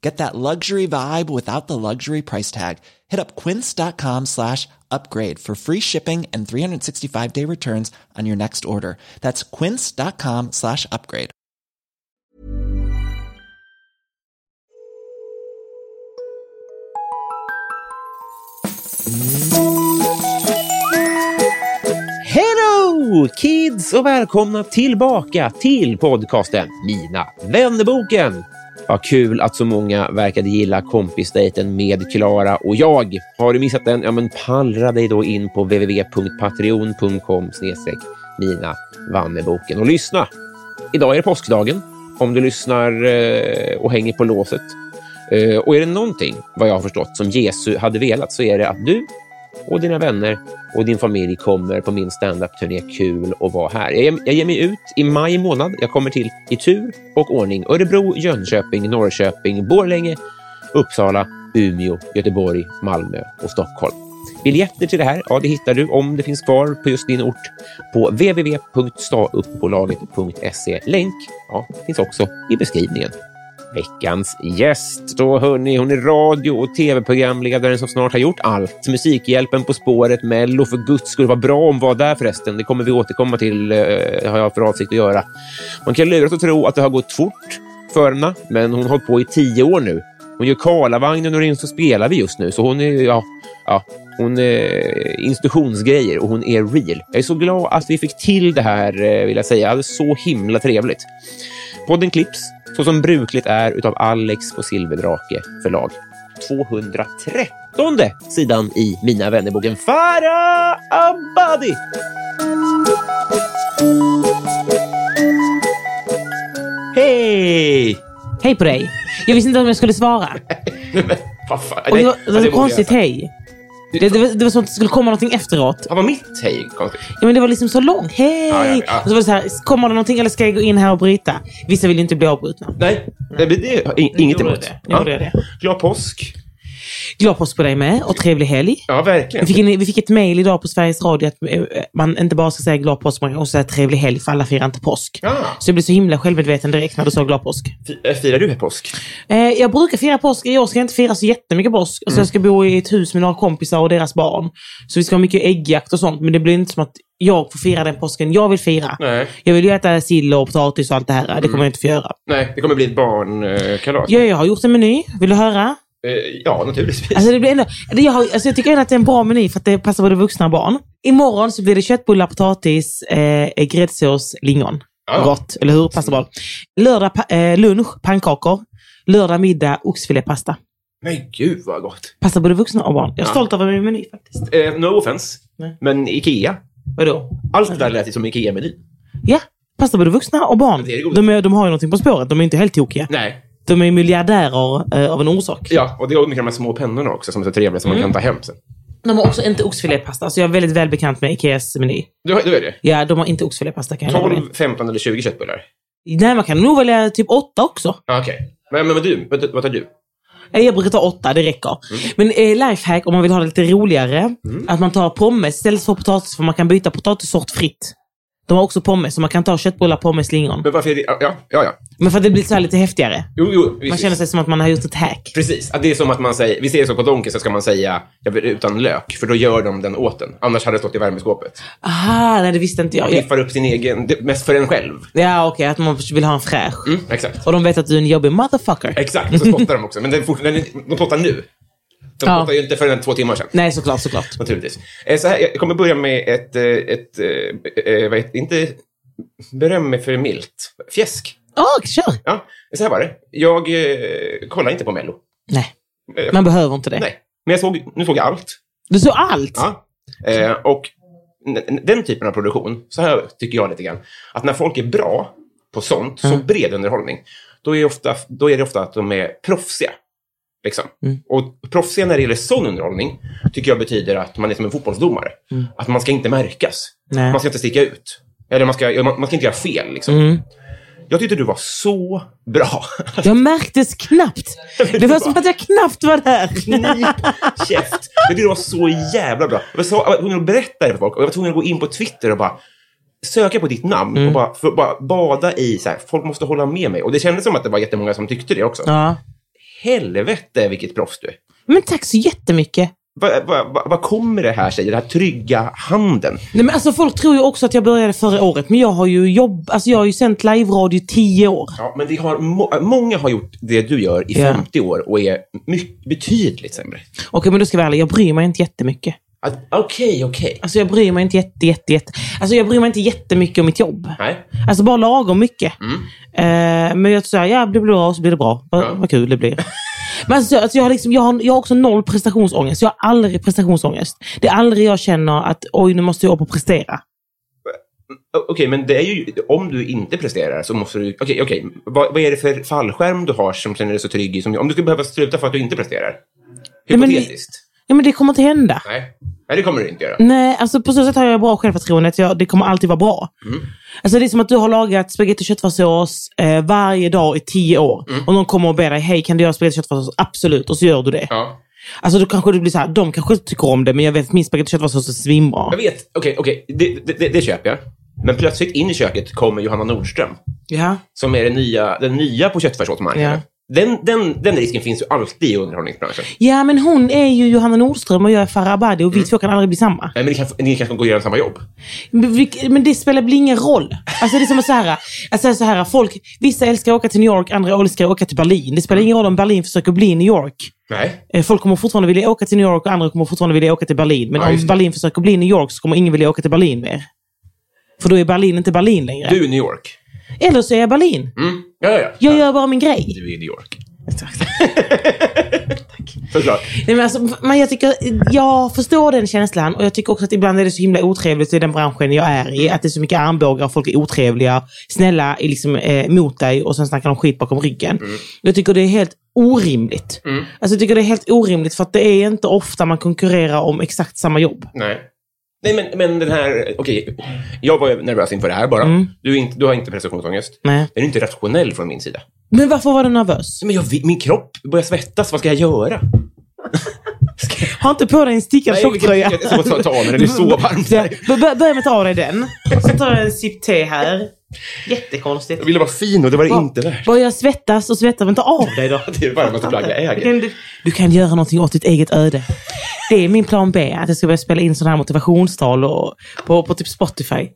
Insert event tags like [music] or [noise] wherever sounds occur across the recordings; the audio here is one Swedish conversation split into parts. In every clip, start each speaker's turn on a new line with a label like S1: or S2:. S1: Get that luxury vibe without the luxury price tag. Hit up quince.com slash upgrade for free shipping and 365 day returns on your next order. That's quince.com slash upgrade.
S2: Hello kids och välkomna tillbaka till podcasten Mina vännerboken. Vad kul att så många verkade gilla kompisdejten med Klara och jag. Har du missat den? Ja, men pallra dig då in på www.patreon.com snedstreck Mina Vanneboken och lyssna. Idag är det påskdagen om du lyssnar eh, och hänger på låset. Eh, Och är det någonting, vad jag har förstått, som Jesu hade velat så är det att du och dina vänner och din familj kommer på min standup-turné. Kul att vara här. Jag, jag ger mig ut i maj månad. Jag kommer till i tur och ordning Örebro, Jönköping, Norrköping, Borlänge, Uppsala, Umeå, Göteborg, Malmö och Stockholm. Biljetter till det här ja, det hittar du, om det finns kvar på just din ort, på www.stauppbolaget.se. Länk ja, finns också i beskrivningen veckans gäst. Då hörni, hon är radio och tv-programledaren som snart har gjort allt. Musikhjälpen På spåret, Mello, för guds skull. Vad bra hon var där förresten. Det kommer vi återkomma till, eh, har jag för avsikt att göra. Man kan luras att tro att det har gått fort för henne, men hon har hållit på i tio år nu. Hon gör Karlavagnen och Ring så spelar vi just nu, så hon är, ja, ja, hon är institutionsgrejer och hon är real. Jag är så glad att vi fick till det här, eh, vill jag säga. Det är så himla trevligt. Podden klipps, så som brukligt är, utav Alex på Silverdrake förlag. 213 sidan i Mina vännerboken Farah Abadi. Hej!
S3: Hej på dig. Jag visste inte om jag skulle svara.
S2: [laughs] Vad fan?
S3: Och
S2: Nej,
S3: det var, det var
S2: alltså,
S3: ett konstigt hej. Det, det, var, det var som att det skulle komma någonting efteråt.
S2: Ja, var mitt hej konstigt?
S3: Ja, men det var liksom så långt. Hej!
S2: Ja, ja, ja.
S3: Och så var det så här, kommer det någonting eller ska jag gå in här och bryta? Vissa vill ju inte bli avbrutna.
S2: Nej, det, det, det, in, inget
S3: gjorde
S2: emot.
S3: det. Nu gjorde jag det.
S2: Glad påsk.
S3: Glad påsk på dig med och trevlig helg.
S2: Ja, verkligen.
S3: Vi fick, en, vi fick ett mejl idag på Sveriges Radio att eh, man inte bara ska säga glad påsk, man kan också säga trevlig helg för alla firar inte påsk.
S2: Ja.
S3: Så jag blev så himla självmedveten direkt när du sa glad påsk.
S2: Fi- eh, Firar du här påsk?
S3: Eh, jag brukar fira påsk. I år ska jag inte fira så jättemycket påsk. Alltså, jag ska
S2: Mm.
S3: bo i ett hus med några kompisar och deras barn. Så vi ska ha mycket äggjakt och sånt. Men det blir inte som att jag får fira den påsken jag vill fira.
S2: Nej. Mm.
S3: Jag vill ju äta sill och potatis och allt det här. Det kommer jag inte få göra.
S2: Nej, det kommer bli ett barnkalas.
S3: Jag, jag har gjort en meny. Vill du höra?
S2: Eh, Ja, naturligtvis.
S3: Alltså, det blir ändå, det jag, har, alltså, jag tycker ändå att det är en bra meny för att det passar både vuxna och barn. Imorgon så blir det köttbullar, potatis, eh, gräddsås, lingon.
S2: Ja.
S3: Gott, eller hur? Passar bra. Lördag pa- eh, lunch, pannkakor. Lördag middag, oxfilépasta.
S2: Men gud vad gott.
S3: Passar både vuxna och barn. Jag är
S2: Ja.
S3: stolt över min meny faktiskt.
S2: Eh, no offense,
S3: Nej.
S2: men Ikea.
S3: Vadå?
S2: Allt det där lät ju som Ikea-meny.
S3: Ja, passar både vuxna och barn.
S2: Det är det goda.
S3: de, är, de har ju någonting på spåret. De är inte helt tokiga.
S2: Nej.
S3: De är miljardärer eh, av en orsak.
S2: Ja, och det är mycket de här små pennorna också som är så trevliga som
S3: Mm.
S2: man kan ta hem sen.
S3: De har också inte oxfilépasta, så jag är väldigt väl bekant med Ikeas meny.
S2: Du, har- du är det.
S3: Ja, de har inte oxfilépasta kan jag lova dig.
S2: 12, 15 eller 20 köttbullar.
S3: Nej, man kan nog välja typ åtta också.
S2: Ja, Okej. Men, men vad, du, vad, vad tar du?
S3: Eh, Jag brukar ta åtta, det räcker.
S2: Mm.
S3: Men eh, lifehack om man vill ha det lite roligare, att man tar pommes istället för potatis, för man kan byta potatissort fritt. De har också pommes, så man kan ta köttbullar, pommes, lingon.
S2: Men varför är det... Ja, ja, ja.
S3: Men för att det blir så här lite häftigare.
S2: Jo, jo. Visst,
S3: Man känner sig som att man har gjort ett hack.
S2: Precis. Att det är som att man säger... Vi säger så på Donken så ska man säga jag vill utan lök, för då gör de den åt en. Annars hade det stått i värmeskåpet.
S3: Aha, nej det visste inte
S2: Man
S3: jag.
S2: piffar upp sin egen... det- Mest för en själv.
S3: Ja, okej, att man vill ha en fräsch.
S2: Mm, exakt.
S3: Och de vet att du är en jobbig motherfucker.
S2: Exakt, så spottar de också. Men den, fort- den, de spottar nu. De
S3: Ja.
S2: spottar ju inte förrän två timmar sedan.
S3: Nej, såklart, såklart.
S2: Naturligtvis. Eh, Så här, jag kommer börja med ett, eh, ett, eh, eh, vad heter, inte beröm mig för milt, fjäsk.
S3: Ja, kör!
S2: Ja, så här var det. Jag eh, kollade inte på Mello.
S3: Nej,
S2: Eh,
S3: man behöver inte det.
S2: Nej, men jag såg, nu såg jag allt.
S3: Du såg allt!
S2: Ja. Eh, och n- n- den typen av produktion, så här tycker jag lite grann, att när folk är bra på sånt, så bred underhållning, då är, ofta, då är det ofta att de är proffsiga. Liksom. Och proffsiga när det gäller sån underhållning tycker jag betyder att man är som en fotbollsdomare. Att man ska inte märkas.
S3: Nej.
S2: Man ska inte sticka ut. Eller man ska, man, man ska inte göra fel. Liksom. Jag tyckte du var så bra.
S3: Jag märktes knappt. Det var som att jag knappt var där.
S2: knip, käft. Jag tyckte det var så jävla bra. Jag var, så, jag var tvungen att berätta det för folk och jag var tvungen att gå in på Twitter och bara söka på ditt namn
S3: Mm.
S2: och bara, för, bara bada i så här, folk måste hålla med mig. Och det kändes som att det var jättemånga som tyckte det också.
S3: Ja.
S2: Helvete vilket proffs du är.
S3: Men tack så jättemycket.
S2: Vad va, va, vad kommer det här sig? Den här trygga handen.
S3: Nej, men alltså, folk tror ju också att jag började förra året, men jag har ju jobb... Alltså, jag har ju sänt live-radio i tio år.
S2: Ja, men det har, må, många har gjort det du gör i
S3: Ja.
S2: 50 år och är mycket, betydligt sämre.
S3: Okej, men då ska jag vara ärlig. Jag bryr mig inte jättemycket.
S2: Att- Okej, okej.
S3: Alltså jag bryr mig inte jätte, jätte, jätte. Alltså jag bryr mig inte jättemycket om mitt jobb.
S2: Nej.
S3: Alltså bara lagom mycket. Eh, men jag säger, ja det blir bra så blir det bra. Vad
S2: Mm. Ja.
S3: vad kul
S2: [laughs]
S3: det blir. men alltså, alltså jag, har liksom, jag, har, jag har också noll prestationsångest. Jag har aldrig prestationsångest. Det är aldrig jag känner att oj, nu måste jag upp och prestera.
S2: O- Okej, men det är ju, om du inte presterar så måste du... Okej, okej. Vad, vad är det för fallskärm du har som känner dig så trygg i? Som, om du skulle behöva sluta för att du inte presterar?
S3: Nej, men-
S2: Hypotetiskt.
S3: Ja, men det kommer inte hända.
S2: Nej. Nej, det kommer du inte göra.
S3: Nej, alltså på så sätt har jag bra självförtroende. att Jag, det kommer alltid vara bra.
S2: Mm.
S3: Alltså det är som att du har lagat spagetti och köttfärssås eh, varje dag i tio år.
S2: Mm.
S3: Och någon kommer och ber dig, hej kan du göra spagetti och köttfärssås? Absolut. Och så gör du det.
S2: Ja.
S3: Alltså då kanske det blir så här, de kanske tycker om det, men jag vet att min spagetti och köttfärssås är svinbra.
S2: Jag vet. Okej, okej. Det, det, det, det köper jag. Men plötsligt in i köket kommer Johanna Nordström,
S3: Ja.
S2: som är den nya, den nya på köttfärssåsmarknaden. Den, den, den risken finns ju alltid i underhållningsbranschen.
S3: ja, men hon är ju Johanna Nordström och jag är Farah Abadi
S2: Mm.
S3: och vi två kan aldrig bli samma.
S2: Nej, men ni, kan, ni kanske går och gör samma jobb.
S3: Men vi- Men det spelar väl ingen roll? Alltså det är som att så här, alltså så här, folk, vissa älskar att åka till New York, andra älskar att åka till Berlin. Det spelar ingen roll om Berlin försöker bli New York.
S2: Nej.
S3: Eh, Folk kommer fortfarande vilja åka till New York och andra kommer fortfarande vilja åka till Berlin. Men
S2: Ja, just
S3: om
S2: det.
S3: Berlin försöker bli New York så kommer ingen vilja åka till Berlin mer. För då är Berlin inte Berlin längre.
S2: Du är New York.
S3: Eller så är jag Berlin.
S2: Mm. Ja, ja, ja.
S3: Jag gör bara min grej.
S2: Du är New York. Såklart.
S3: Nej, men alltså, men jag, tycker, jag förstår den känslan och jag tycker också att ibland är det så himla otrevligt i den branschen jag är i. Att det är så mycket armbågar och folk är otrevliga, snälla är liksom, eh, mot dig och sen snackar de skit bakom ryggen.
S2: Mm.
S3: Jag tycker det är helt orimligt. Alltså, jag tycker det är helt orimligt för att det är inte ofta man konkurrerar om exakt samma jobb.
S2: Nej. Nej, men, men den här... Okej, jag var ju nervös inför det här bara. Du, är inte, du har inte prestationsångest.
S3: Mm. Nej.
S2: Den är inte rationell från min sida.
S3: Men varför var du nervös?
S2: Men jag, vill- min kropp börjar svettas. Vad ska jag göra?
S3: Ha inte på dig en stickad
S2: Nej,
S3: tjocktröja.
S2: vilket- Jag ska ta av mig den. Det är så varmt.
S3: [laughs] Ja, bör- bör- Börja med att ta av dig den. Så tar jag en sipp te här. Jättekonstigt.
S2: Jag ville vara fin och det var det
S3: Ja.
S2: inte [laughs] värt.
S3: Börja svettas och svettas, men ta av dig då.
S2: Det är det varmaste plagg jag
S3: Du kan,
S2: äger.
S3: du, du kan göra någonting åt ditt eget öde. Det är min plan B, att jag ska börja spela in sådana här motivationstal och, på, på typ Spotify.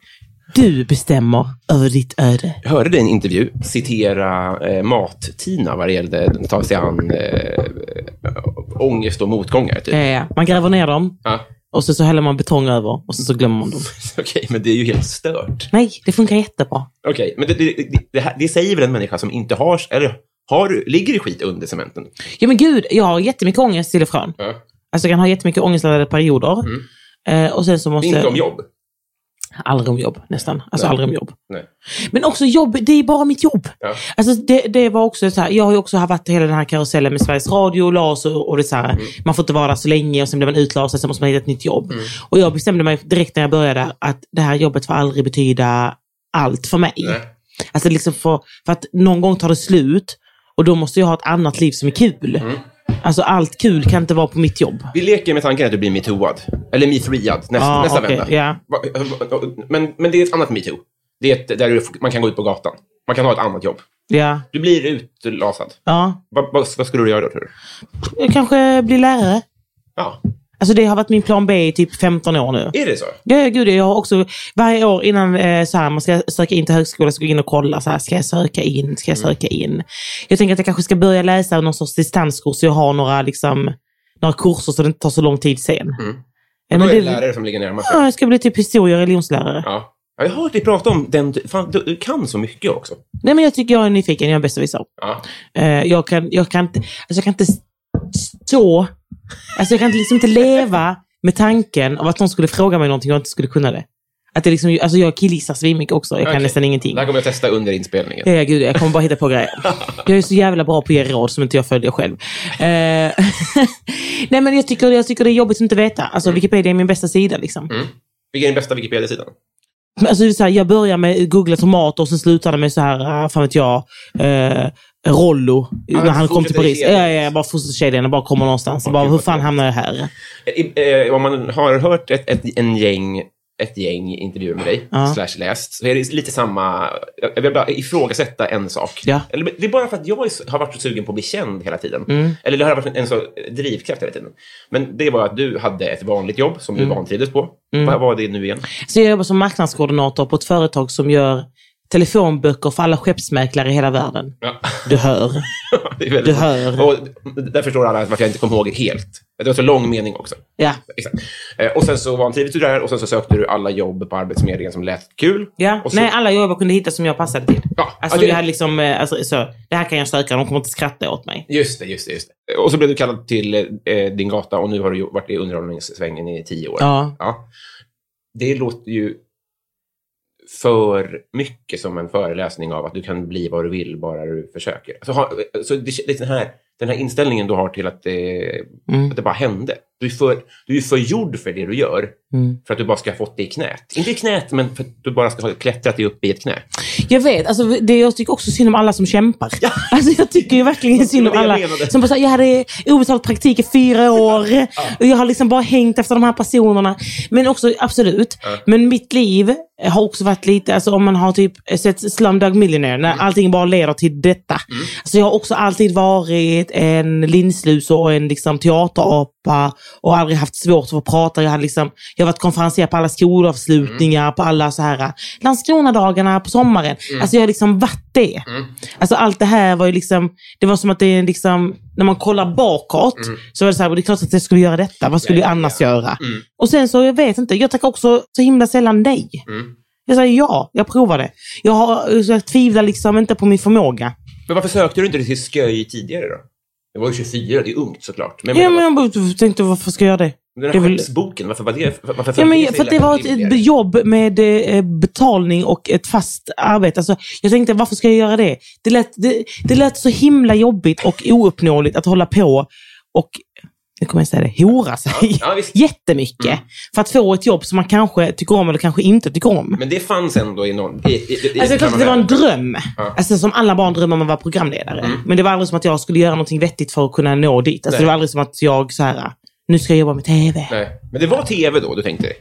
S3: Du bestämmer över ditt öde.
S2: Jag hörde dig i en intervju citera eh, Mat-Tina vad det gällde att ta sig an eh, ångest och motgångar. Typ.
S3: Ja, ja. Man gräver ner dem
S2: Ja. [laughs]
S3: och så, så häller man betong över och så, så glömmer man dem.
S2: Okej, men det är ju helt stört.
S3: Nej, det funkar jättebra.
S2: Okej, men det, det, det, det, här, det säger väl en människa som inte har, eller har, ligger i skit under cementen?
S3: Ja men gud, jag har jättemycket ångest till och från.
S2: Ja.
S3: Alltså jag kan ha jättemycket ångestladdade perioder. Eh, och sen så måste...
S2: Mm. Inte om jobb.
S3: Aldrig om jobb, nästan. Alltså
S2: Nej.
S3: aldrig om jobb.
S2: Nej.
S3: Men också jobb, det är bara mitt jobb.
S2: Ja.
S3: Alltså det, det var också så här, jag har ju också varit i hela den här karusellen med Sveriges Radio och LAS och, och det är så här, man får inte vara där så länge och sen blir man utlasad så måste man hitta ett nytt jobb. Och jag bestämde mig direkt när jag började där att det här jobbet får aldrig betyda allt för mig.
S2: Nej.
S3: Alltså liksom för, för att någon gång tar det slut och då måste jag ha ett annat liv som är kul. Alltså allt kul kan inte vara på mitt jobb.
S2: Vi leker med tanken att du blir metooad. Eller metreead nästa,
S3: Ja,
S2: nästa
S3: Ah, okej,
S2: vända.
S3: ja.
S2: Va- va- Men, men det är ett annat metoo. Det är ett, där du- man kan gå ut på gatan. Man kan ha ett annat jobb.
S3: Ja.
S2: Du blir utlasad.
S3: ja.
S2: Vad, vad, vad skulle du göra då, tror du?
S3: Jag kanske blir lärare.
S2: Ja,
S3: Alltså det har varit min plan B i typ 15 år nu.
S2: är det så?
S3: Ja, ja, gud, jag har också varje år innan eh, så här, man ska söka in till högskolan så går jag in och kollar. Så här, ska jag söka in? Ska jag
S2: Mm.
S3: söka in? Jag tänker att jag kanske ska börja läsa någon sorts distanskurs så jag har några, liksom, några kurser så det inte tar så lång tid sen.
S2: Mm. Då
S3: Ja, men
S2: är det
S3: det,
S2: lärare som ligger närmast.
S3: ja, jag ska bli typ historie och religionslärare.
S2: Ja. Ja, Jag har hört dig prata om den. Fan, du, du kan så mycket också.
S3: Nej, men jag tycker jag är nyfiken. Jag är bäst att visa.
S2: Ja.
S3: Eh, jag, kan, jag, kan inte, alltså jag kan inte stå... Alltså jag kan liksom inte leva med tanken av att någon skulle fråga mig någonting och jag inte skulle kunna det. Att det liksom, alltså jag killgissar svinmycket också. Jag kan
S2: Okej.
S3: nästan ingenting.
S2: Det här kommer jag testa under inspelningen.
S3: Ja, ja, gud, jag kommer bara hitta på grejer. Jag är så jävla bra på att ge råd som inte jag följer själv. Eh, [laughs] Nej, men jag tycker, jag tycker det är jobbigt att inte veta. Alltså, Wikipedia är min bästa sida. Liksom.
S2: Mm. Vilken är den bästa Wikipedia-sidan?
S3: Men Alltså, det är så här, jag börjar med googla tomater och sen slutar det med så här, ah, fan vet jag, eh, Rollo, när
S2: men
S3: han kom till
S2: fortsätter i
S3: Paris. Ja,
S2: kedjan.
S3: ja, jag bara fortsätter kedjan och bara kommer någonstans. Och bara,
S2: Okej,
S3: hur
S2: vad
S3: fan
S2: trevligt.
S3: hamnar jag här?
S2: I- eh, Om man har hört ett, ett, en gäng, ett gäng intervjuer med dig,
S3: Ja.
S2: slash läst, så är det lite samma... Jag vill bara ifrågasätta en sak.
S3: Ja.
S2: Eller, det är bara för att jag är så- har varit så sugen på att bli känd hela tiden.
S3: Mm.
S2: Eller det har varit en, en så drivkraft hela tiden. Men det var att du hade ett vanligt jobb som
S3: Mm.
S2: du vantrivdes på. Vad var det nu igen? [laughs]
S3: Så jag jobbar som marknadskoordinator på ett företag som gör telefonböcker för alla skeppsmäklare i hela världen.
S2: Ja.
S3: Du hör.
S2: Det är väldigt-
S3: Du hör.
S2: Och där förstår alla varför jag inte kom ihåg helt. Det var så lång mening också.
S3: Ja.
S2: Exakt. Eh, Och sen så vantrivdes du där och sen så sökte du alla jobb på Arbetsförmedlingen som lät kul.
S3: Ja,
S2: Och så-
S3: nej, alla jobb jag kunde hitta som jag passade till.
S2: Ja,
S3: Alltså,
S2: ja, det-
S3: jag hade liksom, eh, alltså, så, det här kan jag söka, de kommer inte skratta åt mig.
S2: Just det, just det, just det. Och så blev du kallad till eh, din gata och nu har du ju varit i underhållningssvängen i tio år.
S3: Ja.
S2: Det låter ju för mycket som en föreläsning av att du kan bli vad du vill bara du försöker. Alltså, ha, så det, det är den, här, den här inställningen du har till att, eh,
S3: Mm.
S2: att det bara hände. Du är, för, du är för gjord för det du gör
S3: Mm.
S2: för att du bara ska ha fått det i knät. Inte i knät, men för att du bara ska ha klättrat dig upp i ett knä.
S3: Jag vet, alltså, det, jag tycker också synd om alla som kämpar. [laughs] Alltså, jag tycker ju verkligen synd om
S2: Det var det
S3: alla.
S2: jag menade.
S3: Som bara, så här, jag hade obetalt praktik i fyra år och jag har liksom bara hängt efter de här personerna. Men också, absolut. Men mitt liv har också varit lite, alltså, om man har typ sett Slumdog Millionaire, när
S2: Mm.
S3: allting bara leder till detta. Alltså, jag har också alltid varit en linslus och en liksom, teaterapa och aldrig haft svårt för att prata. Jag, hade liksom, jag har varit konferencier på alla skolavslutningar,
S2: Mm.
S3: på alla så här eh, Landskronadagarna på sommaren. Alltså jag har liksom varit det.
S2: Mm.
S3: Alltså allt det här var ju liksom, det var som att det är liksom, när man kollar bakåt så var det så här, det är klart att jag skulle göra detta. Vad skulle
S2: Mm. Ja, Mm. ja,
S3: jag annars göra? Och sen så, jag vet inte, jag tackar också så himla sällan nej.
S2: Mm.
S3: Jag säger ja, jag provar det. Jag, har, jag tvivlar liksom inte på min förmåga.
S2: Men varför sökte du inte till Sköj tidigare då? Det var ju 24, det är ungt såklart. Men, jag
S3: Ja,
S2: menar,
S3: men jag bara tänkte, varför ska jag göra det?
S2: Den
S3: Det
S2: här
S3: är väl-
S2: skeppsboken, varför var det? Varför
S3: Ja, men,
S2: följde sig
S3: för att det var ett
S2: rimligare?
S3: b- jobb med eh, betalning och ett fast arbete. Alltså, jag tänkte, varför ska jag göra det? Det lät, det, det lät så himla jobbigt och ouppnåeligt att hålla på och, nu kommer jag säga det, hora sig
S2: Ja, visst.
S3: [laughs]
S2: Mm.
S3: jättemycket för att få ett jobb som man kanske tycker om eller kanske inte tycker om.
S2: Men det fanns ändå i någon... I, i, i,
S3: Alltså, det är klart att det var en dröm.
S2: Ja. Mm.
S3: Alltså, som alla barn drömmer om att vara programledare. Men det var aldrig som att jag skulle göra någonting vettigt för att kunna nå dit. Alltså,
S2: Nej.
S3: det var aldrig som att jag så här, nu ska jag jobba med TV.
S2: Nej. Men det var tv då, du tänkte?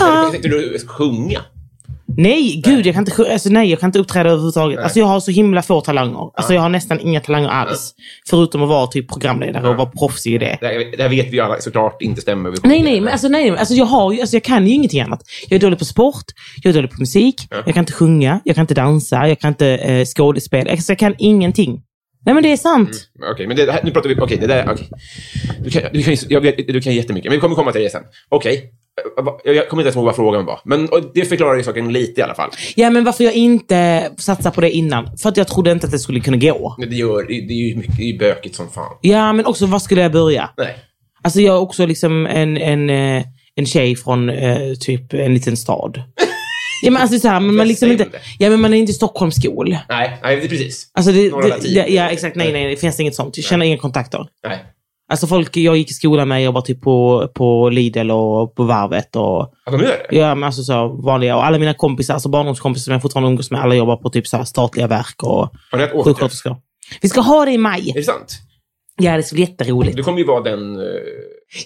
S3: Ja.
S2: Eller Tänkte du sjunga?
S3: Nej, gud, jag kan inte, sjö- alltså, nej, jag kan inte uppträda överhuvudtaget. Alltså, jag har så himla få talanger. Alltså, jag har nästan inga talanger alls. Förutom att vara typ programledare och vara proffsig i det.
S2: Det här, det här vet vi ju alla såklart inte stämmer. över
S3: Nej,
S2: sjunga,
S3: nej, men alltså, nej, men alltså, jag, har, ju- alltså, jag kan ju ingenting annat. Jag är dålig på sport, jag är dålig på musik, jag kan inte sjunga, jag kan inte dansa, jag kan inte eh, skådespela. Alltså, jag kan ingenting. Nej, men det är sant.
S2: Okej, men det, här- nu pratar vi... Okej, det där... Okej. Du, kan, du, kan, ju- jag vet, du kan jättemycket, men vi kommer komma till det sen. Okej. eh, Jag, jag kommer inte ens ihåg vad frågan var, men och det förklarar ju saken lite i alla fall.
S3: Ja, men varför jag inte satsade på det innan? För att jag trodde inte att det skulle kunna gå.
S2: Det, gör, det, det är ju mycket, det är ju bökigt som fan.
S3: Ja, men också var skulle jag börja?
S2: Nej.
S3: Alltså jag är också liksom en, en, eh, en tjej från eh, typ en liten stad. Ja, men alltså så här, men man liksom inte, ja, men man är inte Stockholmsskol.
S2: Nej, nej det är precis.
S3: Alltså det,
S2: Norra
S3: det,
S2: Latin.
S3: det, ja, exakt. Nej, nej, det finns inget sånt. Jag känner inga kontakter.
S2: Nej.
S3: Alltså folk jag gick i skolan med jobbar typ på, på Lidl och på varvet och
S2: Att de gör det?
S3: ja, men alltså så vanliga. Och alla mina kompisar, alltså barndomskompisar som jag fortfarande umgås med, alla jobbar på typ så här statliga verk och
S2: Har ni ett återträff?
S3: sjuksköterskor. Vi ska ha det i maj.
S2: Är det sant?
S3: Ja, det ska bli jätteroligt.
S2: Du kommer ju vara den eh,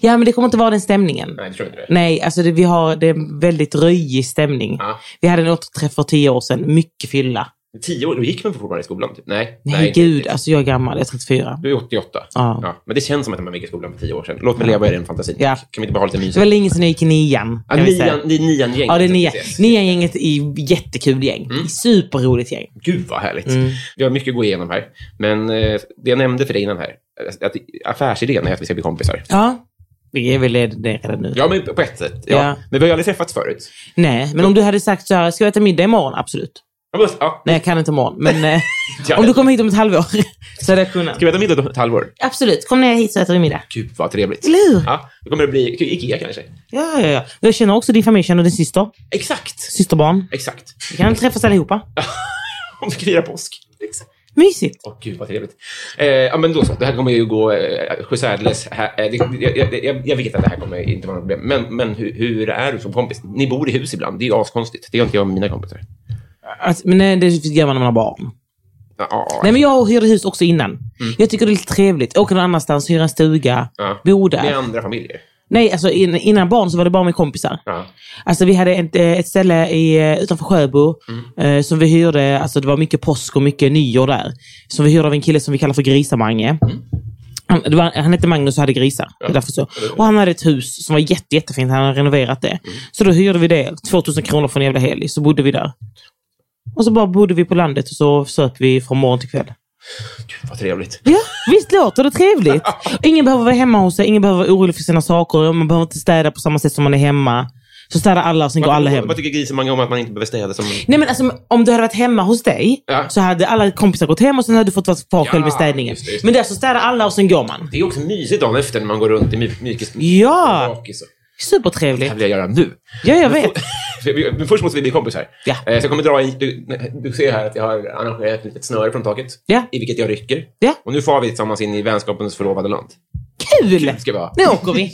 S3: Ja, men det kommer inte vara den stämningen.
S2: Nej, det tror jag inte det.
S3: Nej, alltså det, vi har, det är en väldigt röjig stämning.
S2: Ja.
S3: Vi hade en återträff för tio år sedan, mycket fylla.
S2: Tio år, då gick man fortfarande i skolan? Typ. Nej.
S3: Nej, gud, alltså jag är gammal, jag är 34.
S2: Du är 88.
S3: Ja.
S2: Ja, men det känns som att man gick i skolan för tio år sedan. Låt mig leva i den fantasin.
S3: Ja.
S2: Kan vi inte bara ha lite
S3: Så det
S2: mysigt?
S3: var länge sedan jag gick i nian.
S2: Ja,
S3: kan vi säga.
S2: nian, det är nian-gänget.
S3: Ja, det är nian.
S2: som ses.
S3: Nian-gänget är jättekul gäng.
S2: Mm.
S3: Superroligt gäng.
S2: Gud vad härligt.
S3: Mm.
S2: Vi har mycket att gå igenom här. Men eh, det jag nämnde för dig innan här, eh, att affärsidén är att vi ska bli kompisar.
S3: Ja. Vi är väl det redan nu.
S2: Ja, men på ett sätt. Ja.
S3: Ja.
S2: Men vi har ju aldrig träffats förut.
S3: Nej, men om du hade sagt så här, ska vi äta middag imorgon? Absolut.
S2: Ja, men- Ja.
S3: Nej, jag kan inte imorgon.
S2: [laughs]
S3: Men eh,
S2: Ja.
S3: om du kommer hit om ett halvår [laughs] så hade jag kunnat.
S2: Ska vi äta middag om ett halvår?
S3: Absolut, kom ner hit så äter vi middag.
S2: Gud vad trevligt.
S3: Eller hur?
S2: Ja, då kommer det bli Ikea kanske.
S3: Ja, ja, ja. Jag känner också din familj, jag känner din syster,
S2: Exakt.
S3: systerbarn.
S2: Exakt.
S3: Vi kan träffas allihopa.
S2: [laughs] Om du firar påsk. Exakt.
S3: Mysigt.
S2: Åh, gud vad trevligt. Eh, ja, men då så. Det här kommer ju gå eh, sjösärdles. här. Eh, det- jag, jag, jag, jag vet att det här kommer inte vara något problem. Men, men hur, hur är du som kompis? Ni bor i hus ibland. Det är ju askonstigt. Det gör inte jag med mina kompisar.
S3: Alltså, men nej, det gör man när man har barn.
S2: Ja, ja,
S3: Nej, men jag hyrde hus också innan. Jag tycker det är lite trevligt. Åka någon annanstans, hyra en stuga,
S2: Mm. ja.
S3: bo
S2: Ni är
S3: där.
S2: andra familjer.
S3: Nej, alltså in, innan barn så var det bara med kompisar.
S2: Ja.
S3: Alltså vi hade ett, eh, ett ställe i, eh, utanför Sjöbo eh, som vi hyrde, alltså det var mycket påsk och mycket nyår där. Som vi hyrde av en kille som vi kallar för Grisamange. Han, det var, han hette Magnus och hade grisar. Det Mm. är Därför så. Och han hade ett hus som var jätte, jättefint, han hade renoverat det. Så då hyrde vi det, 2000 kronor för en jävla helg, så bodde vi där. Och så bara bodde vi på landet och så söp vi från morgon till kväll.
S2: Gud vad trevligt.
S3: Ja, [laughs] visst låter det trevligt? [laughs] Ingen behöver vara hemma hos sig, ingen behöver vara orolig för sina saker, man behöver inte städa på samma sätt som man är hemma. Så städar alla och sen går alla hem.
S2: Vad tycker grisemange om att man inte behöver städa som...
S3: Nej men alltså om du hade varit hemma hos dig
S2: Ja.
S3: så hade alla kompisar gått hem och sen hade du fått vara kvar
S2: Ja,
S3: själv med städningen.
S2: just det, just det.
S3: Men där så städar alla och sen går man.
S2: Det är också mysigt dagen efter när man går runt i my- mykes...
S3: Ja.
S2: bakis och- Det
S3: Supertrevligt.
S2: här vill jag göra nu.
S3: Ja, jag vet.
S2: Men först måste [laughs] vi bli kompisar.
S3: Ja.
S2: Eh, Så jag kommer dra en, du, du ser här att jag har arrangerat ett litet snöre från taket.
S3: Ja.
S2: I vilket jag rycker.
S3: Ja.
S2: Och nu far vi tillsammans in i vänskapens förlovade land.
S3: Kul!
S2: Ska vi ha.
S3: Nu åker vi.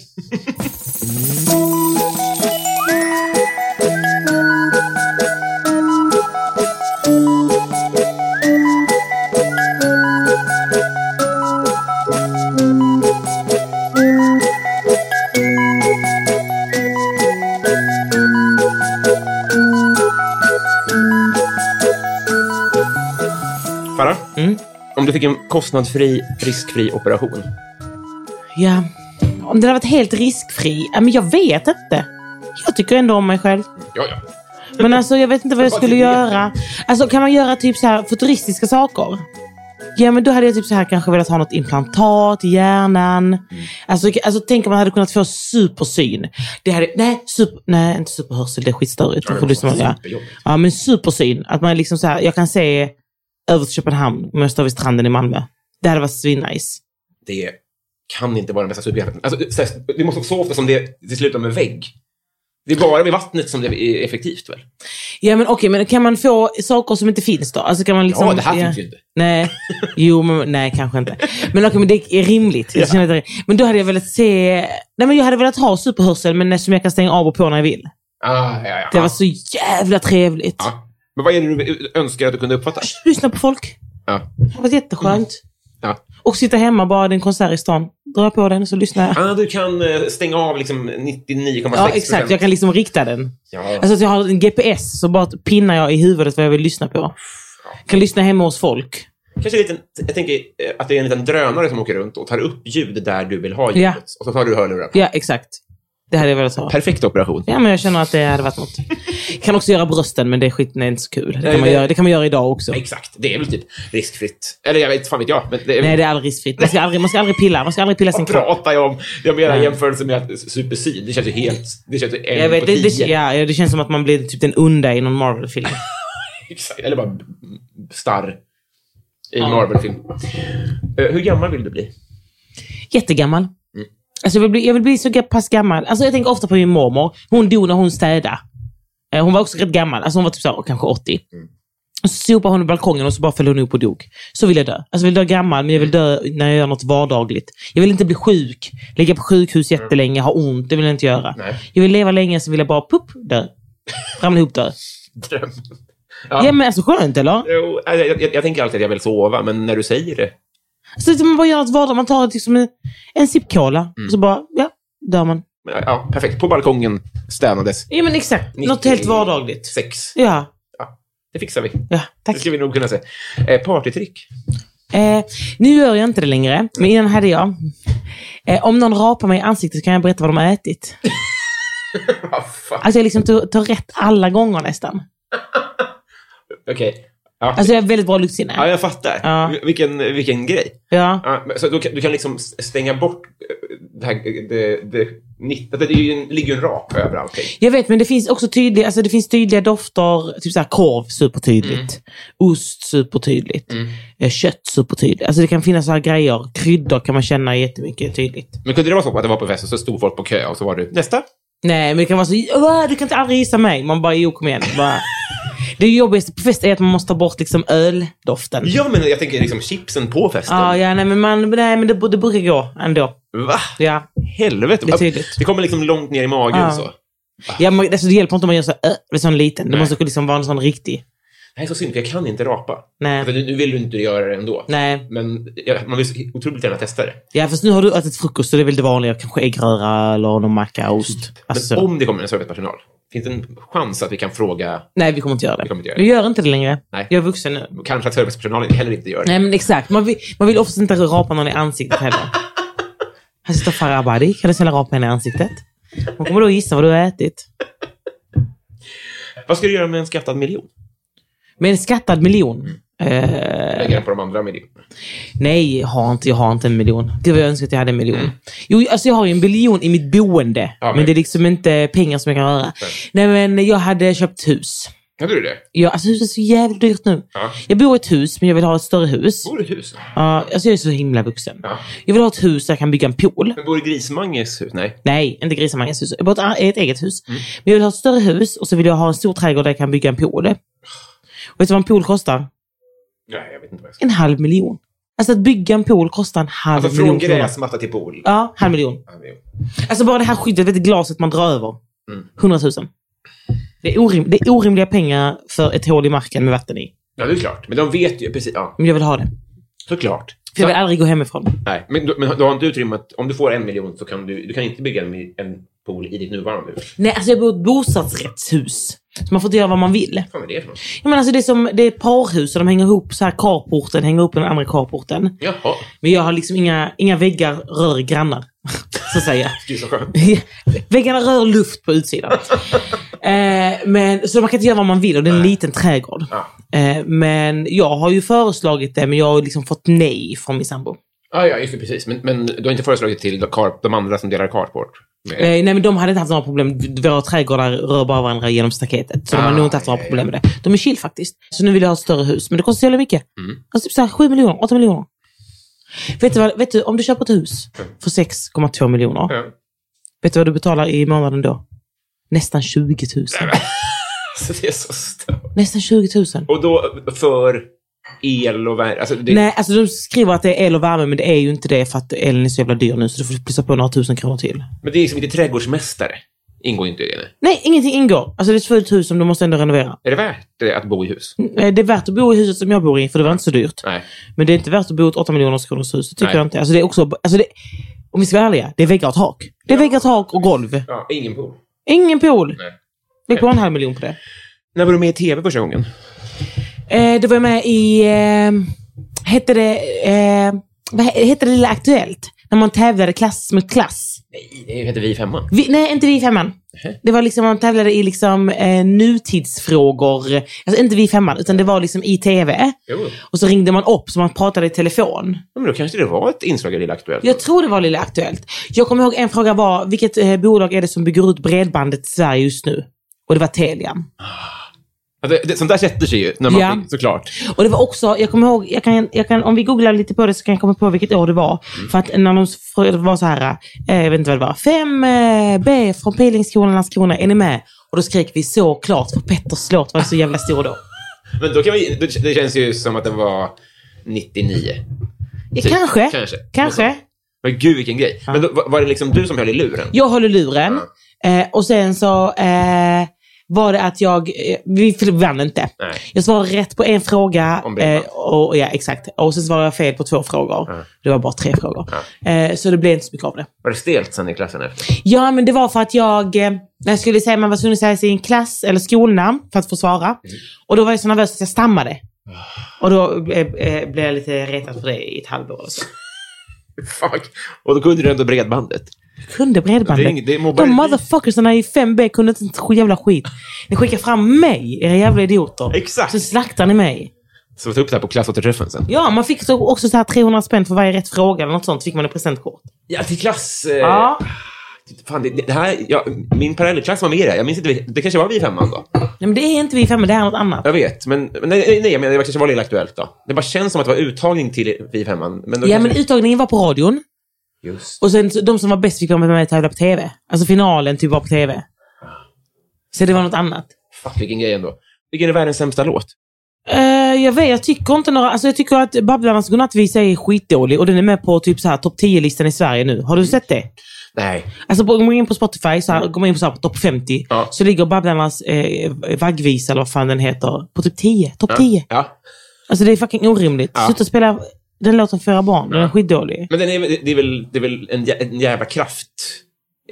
S2: Farah,
S3: Mm.
S2: om du fick en kostnadsfri, riskfri operation.
S3: Ja. Om det hade varit helt riskfri? Ja, men jag vet inte. Jag tycker ändå om mig själv.
S2: Ja, ja.
S3: Men alltså jag vet inte vad jag
S2: Vad
S3: skulle
S2: du vet.
S3: göra. Alltså kan man göra typ så här futuristiska saker? Ja men då hade jag typ så här kanske velat ha något implantat i hjärnan. Alltså, alltså tänk om man hade kunnat få supersyn. Det hade, nej, super, nej inte superhörsel, det är skitstörigt. Då får du som- ja.
S2: superjobbigt.
S3: ja men supersyn. Att man liksom så här, jag kan se över till Köpenhamn om jag står vid stranden i Malmö. Det hade varit svinnice.
S2: Det kan inte vara den bästa superhjälpen. Alltså, så här, det måste så ofta som det, det slutar med vägg. Det är bara vid vattnet som det är effektivt väl?
S3: Ja men okej, men kan man få saker som inte finns då? Alltså kan man liksom...
S2: ja, det här finns ju inte.
S3: Nej, jo, men, nej kanske inte. Men okej, men det är rimligt. Jag känner att det är, men då hade jag velat se... Nej, men jag hade velat ha superhörsel, men som jag kan stänga av och på när jag vill.
S2: Ah, ja, ja.
S3: Det var så jävla trevligt.
S2: ja. Men vad är det du önskar att du kunde uppfatta?
S3: Lyssna på folk.
S2: Ja.
S3: Det var jätteskönt.
S2: Ja.
S3: Och sitta hemma bara, det är en konsert i stan. Dra på den och så lyssnar jag.
S2: Ah, du kan eh, stänga av liksom 99,6
S3: Ja, exakt. Jag kan liksom rikta den.
S2: Ja.
S3: Alltså att jag har en GPS, så bara pinnar jag i huvudet vad jag vill lyssna på. Kan lyssna hemma hos folk.
S2: Kanske en liten, jag tänker eh, att det är en liten drönare som åker runt och tar upp ljud där du vill ha ljudet.
S3: Ja.
S2: Och så tar du hörlurarna.
S3: Ja, exakt. Det hade jag velat ha.
S2: Perfekt operation.
S3: Ja, men jag känner att det hade varit något. Jag kan också göra brösten, men det är skit, nej, inte så kul. Det
S2: Nej,
S3: kan, man
S2: det-
S3: göra, det kan man göra idag också.
S2: Exakt. Det är väl typ riskfritt. Eller jag vet, fan vet jag. Men det är,
S3: Nej, det är aldrig riskfritt. Man ska aldrig, man ska aldrig pilla. Man ska aldrig pilla sin
S2: vad
S3: kropp.
S2: pratar jag om? Jag menar
S3: Nej.
S2: jämförelse med att supersyn. Det känns ju helt... Det känns ju en
S3: Jag vet,
S2: på
S3: det, det,
S2: tio.
S3: ja, ja, det känns som att man blir typ den onda i någon Marvel-film.
S2: Exakt. Eller bara b- starr. I en Marvel-film. Eh, Hur gammal vill du bli? [laughs]
S3: Jättegammal. Alltså, jag, vill bli, jag vill bli så ga- pass gammal. Alltså, jag tänker ofta på min mormor. Hon dog när hon städade. Eh, Hon var också rätt gammal. Alltså, hon var typ så här, kanske 80. Och så sopade hon i balkongen och så bara föll hon upp och dog. Så vill jag dö. Alltså, jag vill dö gammal, men jag vill dö när jag gör något vardagligt. Jag vill inte bli sjuk, ligga på sjukhus jättelänge, ha ont. Det vill jag inte göra.
S2: Nej.
S3: Jag vill leva länge, så vill jag bara pupp, dö. Ramla ihop, dö.
S2: Dröm.
S3: Ja.
S2: Ja.
S3: men alltså skönt eller?
S2: Jo, alltså, jag, jag, jag tänker alltid att jag vill sova, men när du säger det
S3: Så att man bara gör något vardagligt. Man tar liksom en, en sipp cola och så bara, ja, dör man.
S2: Ja, perfekt. På balkongen städades
S3: Ja, men exakt. Något
S2: 90.
S3: helt vardagligt.
S2: sex.
S3: Ja,
S2: Det fixar vi.
S3: ja
S2: Det
S3: tack.
S2: ska vi nog kunna säga. Eh, [laughs] partytrick.
S3: Eh, nu gör jag inte det längre, men innan hade jag. Eh, om någon rapar mig i ansiktet så kan jag berätta vad de har ätit.
S2: Vad fan.
S3: Alltså jag liksom tar, tar rätt alla gånger nästan.
S2: Okej. Ja.
S3: Alltså jag har väldigt bra
S2: ja,
S3: luktsinne.
S2: jag fattar.
S3: Ja.
S2: Vil- Vilken, vilken grej.
S3: Ja.
S2: Ja, men så du, kan- du kan liksom s- stänga bort eh, det här... Det, det, nitt- det, är ju en, ligger ju en rap över allting.
S3: Jag vet, men det finns också tydliga, alltså det finns tydliga dofter. Typ så här korv, supertydligt. Ost, supertydligt. Eh, Kött, supertydligt. Alltså det kan finnas så här grejer. Kryddor kan man känna jättemycket tydligt.
S2: Men kunde det vara så att det var på festen så stod folk på kö och så var du nästa?
S3: Nej, men det kan vara så, "Åh, du kan inte aldrig gissa mig. Man bara, jo kom igen. Bara. Det jobbigaste på fest är att man måste ta bort liksom öldoften.
S2: Ja, men jag tänker liksom chipsen på festen.
S3: Ja, ja nej, men, man, nej, men det, det brukar gå ändå.
S2: Va?
S3: Ja.
S2: Helvete.
S3: Det är tydligt.
S2: Det kommer liksom långt ner i magen
S3: Ja.
S2: så.
S3: Ja, men, alltså, det hjälper inte om man gör så här, "Ö", med sån liten. Det
S2: Nej.
S3: måste liksom vara en sån riktig.
S2: Det här är så synd, för jag kan inte rapa.
S3: Nej.
S2: För nu, nu vill du inte göra det ändå.
S3: Nej,
S2: Men jag, man vill så otroligt gärna testa det.
S3: ja, fast nu har du ätit frukost så det är väl det vanliga. Kanske äggröra eller någon macka och ost. Alltså,
S2: Mm. Men om det kommer en servicepersonal, finns det en chans att vi kan fråga,
S3: Nej, vi kommer inte göra det.
S2: Vi kommer inte göra
S3: Vi gör inte det längre.
S2: Nej.
S3: Jag är vuxen nu.
S2: kanske att servicepersonalen heller inte gör det?
S3: Nej, men exakt. Man vill, man vill oftast inte rapa någon i ansiktet
S2: [laughs]
S3: heller. Här sitter Farah Abadi. Kan du snälla rapa henne i ansiktet? Hon kommer då gissa vad du har ätit.
S2: Vad ska du göra med en skattad miljon?
S3: Med en skattad miljon. Eh,
S2: Lägga den på de andra miljonerna.
S3: Nej, jag har inte, jag har inte en miljon. Gud vad jag önskar att jag hade en miljon. Jo, alltså jag har ju en miljon i mitt boende.
S2: Mm. Ja,
S3: men...
S2: men-
S3: det är liksom inte pengar som jag kan röra. Nej, men jag hade köpt hus.
S2: Hade du det?
S3: Jag, alltså huset är så jävligt dyrt nu.
S2: Ja.
S3: Jag bor i ett hus, men jag vill ha ett större hus.
S2: Bor du i ett hus?
S3: Ja, alltså jag är så himla vuxen.
S2: Ja.
S3: Jag vill ha ett hus där jag kan bygga en pool.
S2: Men bor du i Grismanges hus? Nej.
S3: Nej, inte Grisamangens hus. Jag bor i ett- i ett eget hus.
S2: Mm.
S3: Men jag vill ha ett större hus och så vill jag ha en stor trädgård där jag kan bygga en pool. Och vet du vad en pool kostar?
S2: Nej, jag vet inte vad jag ska
S3: En halv miljon. Alltså att bygga en pool kostar en halv
S2: Alltså från
S3: miljon kronor.
S2: gräsmatta till pool.
S3: Ja, halv miljon.
S2: Ja, miljon.
S3: Alltså bara det här skyddet, vet du, glaset man drar över.
S2: Mm.
S3: 100 000. Det är, orim- det är orimliga pengar för ett hål i marken med vatten i.
S2: Ja, det är klart. Men de vet ju precis. Ja,
S3: Men jag vill ha det.
S2: såklart.
S3: För jag vill
S2: Så-
S3: aldrig gå hemifrån.
S2: nej, men, du, men du har inte utrymme att... Om du får en miljon så kan du, du kan inte bygga en, mi- en pool i ditt nuvarande hus.
S3: Nej, alltså jag bor i ett bostadsrättshus. Så man får inte göra vad man vill.
S2: Vad fan är det för något?
S3: Jag menar, alltså det, är som, det är parhus och de hänger ihop så här carporten hänger upp med den andra carporten.
S2: Jaha.
S3: Men jag har liksom inga, inga väggar rör grannar. [laughs] Så att säga. [laughs]
S2: Gud, så skönt.
S3: Väggarna rör luft
S2: [laughs]
S3: på utsidan. eh, men, så man kan inte göra vad man vill och det är en liten trädgård.
S2: Ja.
S3: Eh, men jag har ju föreslagit det men jag har liksom fått nej från min sambo.
S2: Ja, Ah, ja, just det, precis. Men, men du har inte föreslagit till Carp, de andra som delar carport? Med.
S3: Eh, nej men de hade inte haft några problem. Våra trädgårdar rör bara varandra genom staketet. Så de har
S2: Ah,
S3: nog inte haft några
S2: ja,
S3: problem med det. De är chill faktiskt. Så nu vill jag ha ett större hus. Men det kostar så jävla mycket.
S2: Mm.
S3: Alltså typ såhär 7 miljoner, 8 miljoner. Vet du, vad, vet du, om du köper ett hus
S2: Mm.
S3: för 6,2 miljoner.
S2: Ja.
S3: Vet du vad du betalar i månaden då? Nästan 20 000.
S2: Så det är så stört.
S3: Nästan 20 000.
S2: Och då för el och värme? Alltså, det,
S3: Nej, alltså de skriver att det är el och värme, men det är ju inte det för att elen är så jävla dyr nu, så du får plussa på några tusen kronor till.
S2: Men det är liksom inte trädgårdsmästare. Ingår inte i det. nej.
S3: Nej, ingenting ingår. Alltså det är ett fullt hus som du måste ändå renovera.
S2: Är det värt det att bo i hus?
S3: Eh, Det är värt att bo i huset som jag bor i, för det var inte så dyrt.
S2: Nej.
S3: Men det är inte värt att bo i ett 8 miljoners kronors hus, det tycker
S2: Nej.
S3: jag inte. Alltså det är också, alltså det, om vi ska vara ärliga, det är väggar och tak. Det är väggar, tak och golv.
S2: Ja, ingen pool.
S3: Ingen pool.
S2: Nej.
S3: Lägg på en halv miljon på det.
S2: När var du med i tv första gången?
S3: Eh, då var jag med i, eh, hette det, eh, vad he- hette det Lilla Aktuellt? När man tävlade klass mot klass.
S2: Nej, det heter Vi i femman.
S3: Vi, nej, inte vi i femman. Det var liksom, man tävlade i liksom, eh, nutidsfrågor. Alltså inte vi i femman, utan det var liksom i tv.
S2: Jo.
S3: Och så ringde man upp så man pratade i telefon.
S2: Ja, Men då kanske det var ett inslag i Lilla Aktuellt.
S3: Jag tror det var Lilla Aktuellt. Jag kommer ihåg en fråga var, vilket eh, bolag är det som bygger ut bredbandet i Sverige just nu? Och det var Telia.
S2: Ja, Alltså, det, det, sånt där sätter sig ju, när man
S3: Ja.
S2: såklart.
S3: Och det var också, jag kommer ihåg, jag kan, jag kan, om vi googlar lite på det så kan jag komma på vilket år det var.
S2: Mm.
S3: För att när de frå- det var så här, eh, jag vet inte vad det var, 5B från Pilingskolan Landskrona, är ni med? Och då skrek vi såklart, för Petters låt var så jävla stor då.
S2: Men då kan vi, det, det känns ju som att det var 99.
S3: Ja,
S2: Typ.
S3: kanske,
S2: Kanske.
S3: kanske.
S2: Men gud vilken grej. Men då, var var det liksom du som höll i luren?
S3: Jag höll i luren eh, och sen så eh, var det att jag, eh, vi för- vann inte.
S2: Nej.
S3: Jag svarade rätt på en fråga. eh,
S2: Om Bellman.
S3: och, ja, exakt. Och sen svarade jag fel på två frågor.
S2: Ja.
S3: Det var bara tre frågor. Eh, så det blev inte så mycket av det.
S2: Var det stelt sen i klassen efter?
S3: Ja, men det var för att jag, eh, när jag skulle säga, man var tvungen att säga sin klass eller skolnamn för att få svara.
S2: Mm.
S3: Och då var jag så nervös att jag stammade.
S2: Ah.
S3: Och då eh, eh, blev jag lite retad för det i ett halvår. Och så.
S2: Fuck. Och då kunde du ändå bredbandet.
S3: Kunde bredbandet.
S2: Det är ing- det är mobile-
S3: De motherfuckersarna i 5B kunde inte ett jävla skit. Ni skickar fram mig, era jävla idioter.
S2: Exakt.
S3: Så slaktar ni mig.
S2: Så ta upp det här på klassåterträffen sen.
S3: Ja, man fick så, också så här 300 spänn för varje rätt fråga eller något sånt. fick man ett presentkort.
S2: Ja, till klass... Eh,
S3: Ja.
S2: Fan, det, det här, ja, min parallellklass var med i det. här. Jag minns inte, vilket- det kanske var vi i femman då?
S3: Nej, men det är inte vi i 5 det här är något annat.
S2: Jag vet, men men nej, nej, nej jag menar, det kanske var Lilla Aktuellt då. Det bara känns som att det var uttagning till vi i femman. Men då
S3: Ja, men
S2: kanske...
S3: uttagningen var på radion.
S2: Just.
S3: Och sen så- de som var bäst fick vara med och tävla på TV. Alltså finalen typ var på TV. Så det var något annat.
S2: Fuck, vilken grej ändå. Vilken är världens sämsta låt?
S3: Eh, jag vet, jag tycker inte några... Alltså jag tycker att Babblarnas godnattvisa är skitdålig och den är med på typ så här topp 10-listan i Sverige nu. Har du sett det?
S2: Nej.
S3: Alltså går man in på Spotify, så här, går man in på, så här, på topp 50,
S2: Ja.
S3: så ligger Babblarnas eh, vaggvisa, eller vad fan den heter, på typ 10. Topp 10.
S2: Ja.
S3: Alltså det är fucking orimligt.
S2: Ja.
S3: Sluta spela den låten för era barn, den är skitdålig.
S2: Men den är, det, är väl, det är väl en, jä- en jävla kraft...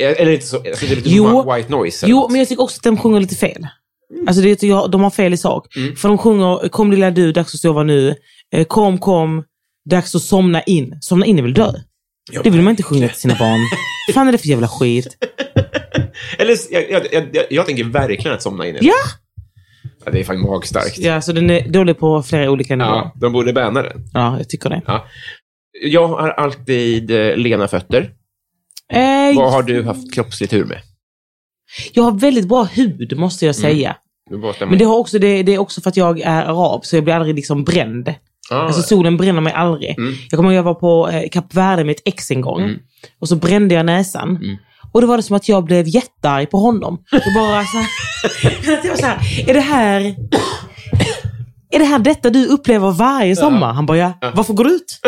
S2: Eller inte så... Alltså, det är lite
S3: Jo.
S2: som white noise. eller
S3: Jo,
S2: något.
S3: men jag tycker också att de sjunger lite fel.
S2: Mm.
S3: Alltså det, jag, de har fel i sak. För de sjunger Kom lilla du, dags att sova nu. Eh, Kom, kom, dags att somna in. Somna in är väl dö?
S2: Ja,
S3: det vill man inte sjunga till sina
S2: [laughs]
S3: barn. Vad fan är det för jävla skit?
S2: Eller, jag, jag, jag, jag, jag tänker verkligen att somna in i det.
S3: Ja!
S2: Ja, det är fan magstarkt.
S3: Ja, så den är dålig på flera olika nivåer.
S2: Ja,
S3: Ja,
S2: de borde banna den.
S3: jag tycker det.
S2: Ja. Jag har alltid eh, lena fötter.
S3: Eh,
S2: Vad har du haft kroppslig tur med?
S3: Jag har väldigt bra hud, måste
S2: Mm.
S3: jag säga.
S2: Du båtar mig.
S3: Men det, har också, det, det är också för att jag är arab, så jag blir aldrig liksom bränd.
S2: ah,
S3: Alltså solen bränner mig aldrig.
S2: Mm.
S3: Jag kommer ihåg jag var på eh, Kap Verde med ett ex en gång.
S2: Mm.
S3: Och så brände jag näsan. Och då var det som att jag blev jättearg på honom. Jag bara
S2: [laughs]
S3: så här, jag var så här, är det här... Är det här detta du upplever varje sommar? Han bara, ja. Varför går du
S2: [laughs]
S3: ut?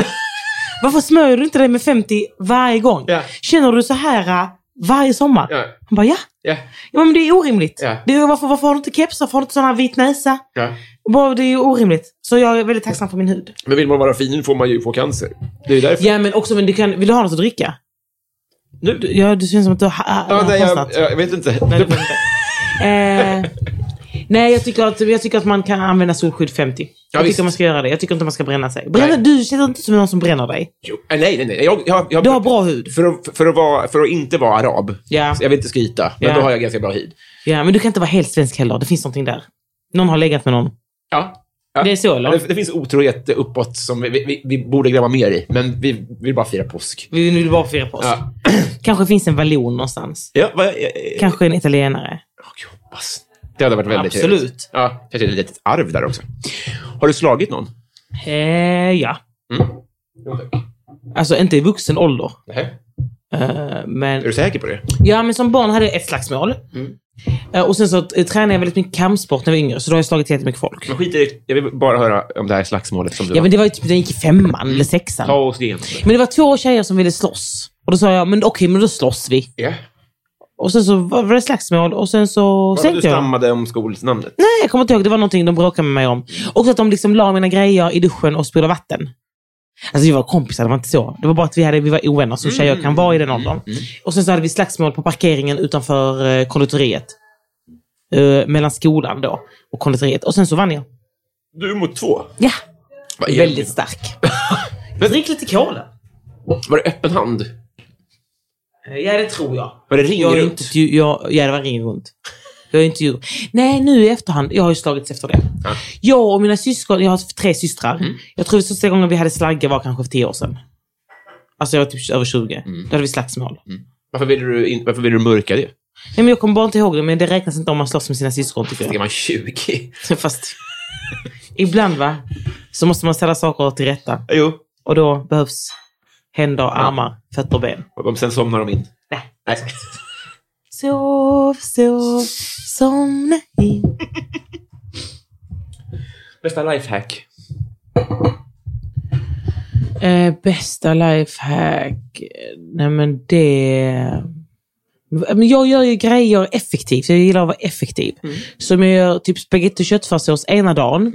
S3: Varför smörjer du inte dig med 50 varje gång?
S2: Ja.
S3: Känner du så här eh, varje sommar?
S2: Ja.
S3: Han bara, ja.
S2: Ja,
S3: ja men det är orimligt.
S2: Ja.
S3: Det är, varför, varför har du inte keps? Varför har du inte sån här vit näsa?
S2: ja.
S3: Bara, det är ju orimligt. Så jag är väldigt tacksam för min hud.
S2: Men vill man vara fin får man ju få cancer. Det är ju därför.
S3: Ja, men också, men du kan, vill du ha något att dricka?
S2: Nu, du,
S3: Ja, det känns som att du har, ah,
S2: ja,
S3: har
S2: nej,
S3: fastnat.
S2: jag, jag vet inte.
S3: Nej, det får du inte. eh, nej jag, tycker att, jag tycker att man kan använda solskydd 50. jag
S2: visst.
S3: tycker man ska göra det. Jag tycker inte man ska bränna sig. Bränna,
S2: Nej.
S3: du känner inte som någon som bränner dig.
S2: Jo, eh, nej, nej, nej. Jag, jag, jag,
S3: Du har bra hud.
S2: För att, för, att vara, för att inte vara arab,
S3: Ja.
S2: så jag vill inte skryta, men
S3: Ja.
S2: då har jag ganska bra hud.
S3: Ja, men du kan inte vara helt svensk heller. Det finns någonting där. Någon har legat med någon.
S2: Ja. Ja.
S3: Det är så, eller?
S2: Det, det finns otrohet uppåt som vi, vi, vi borde gräva mer i, men vi vill bara fira påsk.
S3: Vi vill bara fira på oss.
S2: Ja.
S3: Kanske finns en vallon någonstans.
S2: Ja, vad, eh, eh,
S3: Kanske en italienare.
S2: Ja, gud, hoppas. Det hade varit väldigt
S3: Absolut.
S2: trevligt. Ja, kanske ett litet arv där också. Har du slagit någon?
S3: Eh, ja.
S2: Jo tack.
S3: Alltså inte i vuxen ålder.
S2: Nej.
S3: Eh, men
S2: Är du säker på det?
S3: Ja, men som barn hade jag ett slagsmål.
S2: Mm.
S3: Eh, Och sen så eh, tränade jag väldigt mycket kampsport när jag var yngre, så då har jag slagit jättemycket folk.
S2: Men skit i det. Jag vill bara höra om det här slagsmålet som du
S3: Ja,
S2: har.
S3: men det var ju typ, den gick i femman eller sexan.
S2: Ta oss igenom det.
S3: Men det var två tjejer som ville slåss. Och då sa jag, men okej, men då slåss vi.
S2: Ja.
S3: Och sen så var var det slagsmål och sen så
S2: Vadå, Du
S3: sänkte jag dem.
S2: stammade om skolnamnet.
S3: Nej, jag kommer inte ihåg. Det var någonting de bråkade med mig om. Också att de liksom la mina grejer i duschen och spolade vatten. Alltså vi var kompisar, det var inte så. Det var bara att vi, hade, vi var ovänner som tjejer kan vara i den åldern. Och sen så hade vi slagsmål på parkeringen utanför eh, konditoriet. Eh, mellan skolan då och konditoriet. Och sen så vann jag.
S2: Du mot två.
S3: Ja,
S2: Vad är det?
S3: väldigt stark.
S2: Men-
S3: Drick lite cola.
S2: Var det öppen hand?
S3: Eh, Ja, det tror jag.
S2: Var det ring
S3: Jag är
S2: runt?
S3: inte, djur- jag, ja, det var ring runt. Jag är inte djur. Nej, nu i efterhand. Jag har ju slagits efter det.
S2: Ja. Mm.
S3: Jag och mina syskon, jag har tre systrar. Jag tror att sista gången vi hade slagge var kanske för tio år sedan. Alltså jag var typ över 20.
S2: Mm.
S3: Då hade vi slagsmål.
S2: Varför ville du, in... Varför ville du mörka det?
S3: Nej, men jag kommer bara inte ihåg det, men det räknas inte om man slåss med sina syskon tycker
S2: Det är
S3: jag.
S2: man 20. [laughs]
S3: Fast [laughs] ibland va, så måste man ställa saker till rätta.
S2: Ja, Jo.
S3: Och då behövs händer, armar, fötter och ben.
S2: Och de, sen somnar de in.
S3: Nej.
S2: Nej.
S3: Sov, sov, somna in.
S2: Bästa lifehack?
S3: Eh, bästa lifehack? Nej men det... Men jag gör ju grejer effektivt. Jag gillar att vara effektiv.
S2: Mm.
S3: Så om jag gör typ spagetti och köttfärssås ena dagen.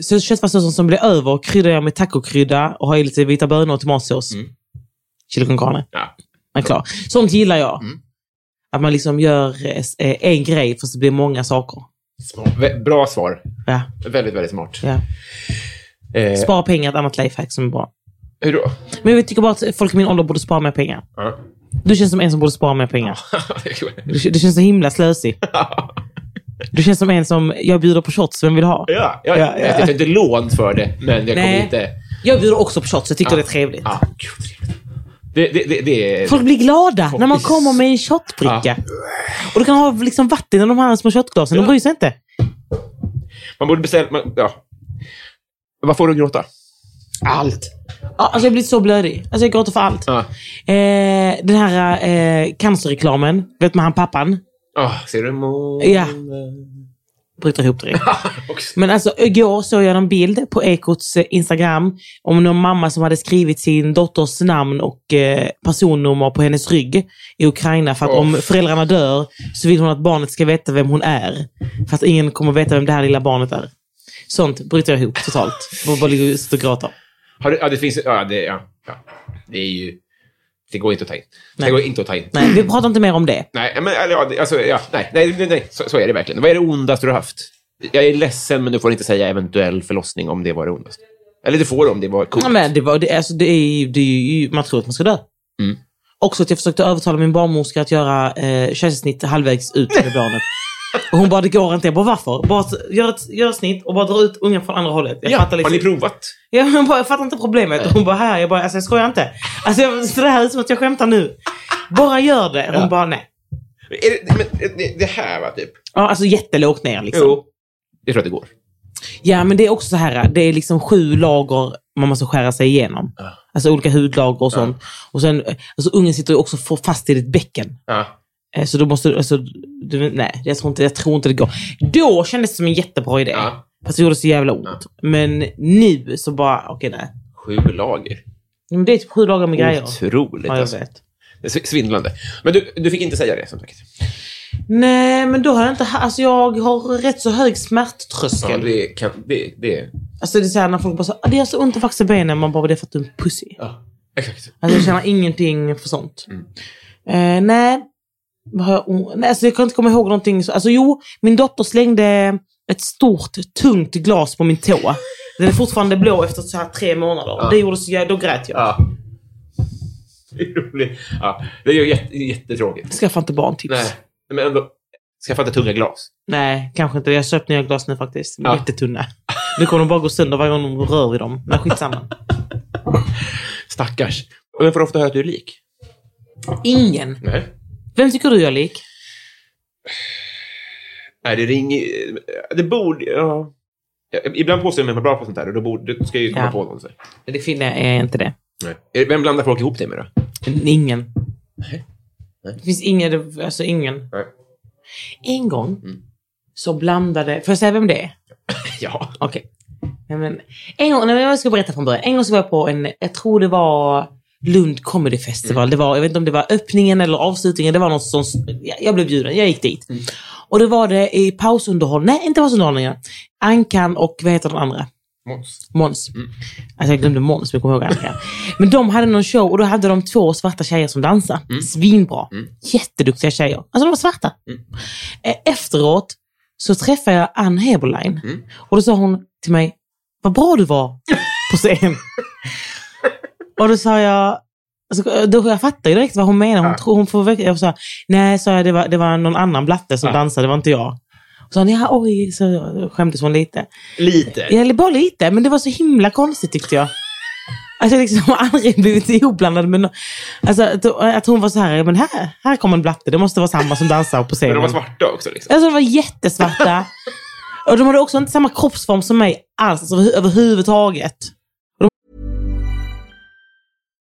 S3: Så köttfärssåsen som blir över kryddar jag med tacokrydda och har i lite vita bönor och tomatsås.
S2: Mm.
S3: Chili con carne.
S2: Ja.
S3: Man är klar. Sånt gillar jag.
S2: Mm.
S3: Att man liksom gör eh, en grej fast det blir många saker.
S2: Smart. Vä- Bra svar.
S3: Ja,
S2: Väldigt, väldigt smart.
S3: ja.
S2: Eh,
S3: Spara pengar är ett annat lifehack som är bra.
S2: hur då?
S3: Men jag tycker bara att folk i min ålder borde spara mer pengar.
S2: [laughs] Ja.
S3: Du känns som en som borde spara mer
S2: Ah.
S3: pengar.
S2: Det är kul.
S3: Du, du känns så himla slösig. Du känns som en som, jag bjuder på shots, vem vill ha?
S2: ja, jag,
S3: Ja, ja.
S2: jag tar inte lån för det, men jag kommer
S3: Nej.
S2: inte...
S3: Jag bjuder också på shots, jag tycker
S2: Ja.
S3: det är trevligt.
S2: Ja, gud, trevligt. det, det, det, det är...
S3: Folk blir glada när man
S2: blir-
S3: kommer med en shotbricka.
S2: Ja.
S3: Och du kan ha liksom vatten i de här små shotglasen, de bryr sig inte.
S2: Man borde beställa... Man, ja. Vad får du att gråta? Allt.
S3: Ja, Alltså jag blir så blödig. Alltså jag gråter för allt.
S2: Ja.
S3: Eh, den här eh, cancerreklamen, vet man han pappan?
S2: Ah, ser du månen?
S3: Ja. Bryter ihop direkt.
S2: Också.
S3: Men alltså igår såg jag en bild på Ekots eh, Instagram om någon mamma som hade skrivit sin dotters namn och eh, personnummer på hennes rygg i Ukraina för att
S2: Åh.
S3: om föräldrarna dör så vill hon att barnet ska veta vem hon är. Fast ingen kommer veta vem det här lilla barnet är. Sånt bryter jag ihop totalt. Och bara ligger och sitter och gråter.
S2: Har du, ja, det finns... Ja, det, ja, ja. det är ju... Det går inte att ta in. Det
S3: Nej.
S2: går inte att ta in.
S3: Nej, vi pratar inte mer om det.
S2: Nej, men eller, ja, det- alltså, ja, nej, nej, nej, nej så, så är det verkligen. Vad är det ondaste du har haft? Jag är ledsen, men du får inte säga eventuell förlossning om det var det ondaste. Eller det får du om det var coolt.
S3: Ja, men det var, det, alltså, det är, ju- det är ju, man tror att man ska dö.
S2: Mm.
S3: Också att jag försökte övertala min barnmorska att göra eh, kejsarsnitt halvvägs
S2: [laughs]
S3: ut med barnet. Och hon bara, det går inte. Jag bara, varför? Bara, att- gör, ett, gör ett snitt och bara dra ut ungen från andra hållet. Jag
S2: ja,
S3: fattar
S2: Har
S3: liksom.
S2: ni provat?
S3: Ja, men jag bara, jag fattar inte problemet. Och hon bara, här. Jag bara, alltså jag skojar inte. Alltså jag, så det här är som att jag skämtar nu. Bara gör det. Hon
S2: Ja.
S3: bara, nej.
S2: Är det, men, det, det här, va, typ?
S3: Ja, alltså jättelågt ner liksom.
S2: Jo. Jag tror att det går.
S3: Ja, men det är också så här. Det är liksom sju lager man måste skära sig igenom.
S2: Ja.
S3: Alltså olika hudlager och sånt. Och sen, eh, alltså ungen sitter ju också f- fast i ditt bäcken.
S2: Ja.
S3: Eh, Så då måste du, alltså, du, nej, jag tror, inte, jag tror inte det går. Då kändes det som en jättebra idé.
S2: ja.
S3: Fast det gjorde så jävla ont. Men nu så bara, okej nej.
S2: Sju lager.
S3: Men det är typ sju lager med grejer.
S2: Otroligt.
S3: Ja, jag
S2: alltså.
S3: vet.
S2: Det är sv- Svindlande. Men du, du fick inte säga det, som sagt.
S3: Nej, men då har jag inte, ha- alltså jag har rätt så hög
S2: Ja,
S3: smärttröskel.
S2: det kan... Det, det,
S3: Alltså det är så här när folk bara så, "Ah, det gör så ont att vaxa benen. Man bara, det är för att du är en pussy.
S2: ja. Exakt.
S3: Alltså jag känner ingenting för sånt.
S2: Mm.
S3: Eh, nej. Vad har jag o- nej alltså jag kan inte komma ihåg någonting. så- Alltså jo, min dotter slängde ett stort tungt glas på min tå. Den är fortfarande blå efter så här tre månader.
S2: Ja.
S3: Det gjorde så jag, då grät jag.
S2: Ja. Det är roligt. Ja. Det är ju jätte, jättetråkigt.
S3: Skaffa inte typ. barntips.
S2: Nej,
S3: Nej.
S2: men ändå. Skaffa inte tunga glas.
S3: kanske inte. Jag har köpt nya glas nu faktiskt. De är
S2: Ja.
S3: Jättetunna. Nu kommer de bara gå sönder varje gång de rör vid dem. Men skitsamma.
S2: Stackars. Men får du ofta höra att du är lik?
S3: Ingen.
S2: Nej.
S3: Vem tycker du jag är lik?
S2: Nej, det ringer... Det borde... Ja. Ja, Ibland påstår jag mig vara bra på sånt där och då borde, du ska jag ju komma
S3: Ja.
S2: på någon. Så. här.
S3: Det finner jag är inte det.
S2: Nej. Är- Eh, Vem blandar folk ihop dig med då?
S3: Ingen.
S2: Nej. Nej.
S3: Det finns ingen, alltså ingen.
S2: Nej.
S3: En gång
S2: Mm.
S3: så blandade, får jag säga vem det är?
S2: Ja.
S3: Okej. Nej, men, en gång, nej, men jag ska berätta från början. En gång så var jag på en, jag tror det var Lund Comedy Festival. Det var, jag vet inte om det var öppningen eller avslutningen. Det var något som, jag, jag blev bjuden, jag gick dit. Och det var det i pausunderhållningen, nej inte pausunderhållningen. Ankan och vad heter den andra?
S2: Måns.
S3: Måns.
S2: Mm.
S3: Alltså jag glömde Måns, men jag kommer
S2: [laughs]
S3: ihåg Annika. Men de hade någon show och då hade de två svarta tjejer som dansade.
S2: Mm.
S3: Svinbra. Jätteduktiga tjejer. Alltså de var svarta. Eh, Efteråt så träffade jag Ann Heberlein
S2: Mm.
S3: och då sa hon till mig, vad bra du var
S2: [laughs]
S3: på scen. och då sa jag, alltså, då, jag fattar ju direkt vad hon menar. Hon,
S2: Ja.
S3: tror, hon får, verkligen- jag sa, nej, sa jag, det var, det var någon annan blatte som
S2: Ja.
S3: dansade, det var inte jag. Och så sa hon, ja, oj, så skämdes hon lite.
S2: Lite.
S3: Ja, eller bara lite, men det var så himla konstigt tyckte jag. Alltså jag liksom [laughs] har aldrig blivit ihopblandad med någon. Alltså att, att hon var så här, men här, här kommer en blatte, det måste vara samma som dansar på
S2: Men
S3: scenen.
S2: de var svarta också. Liksom.
S3: Alltså de var jättesvarta. Och de hade också inte samma kroppsform som mig alls, alltså, över- överhuvudtaget.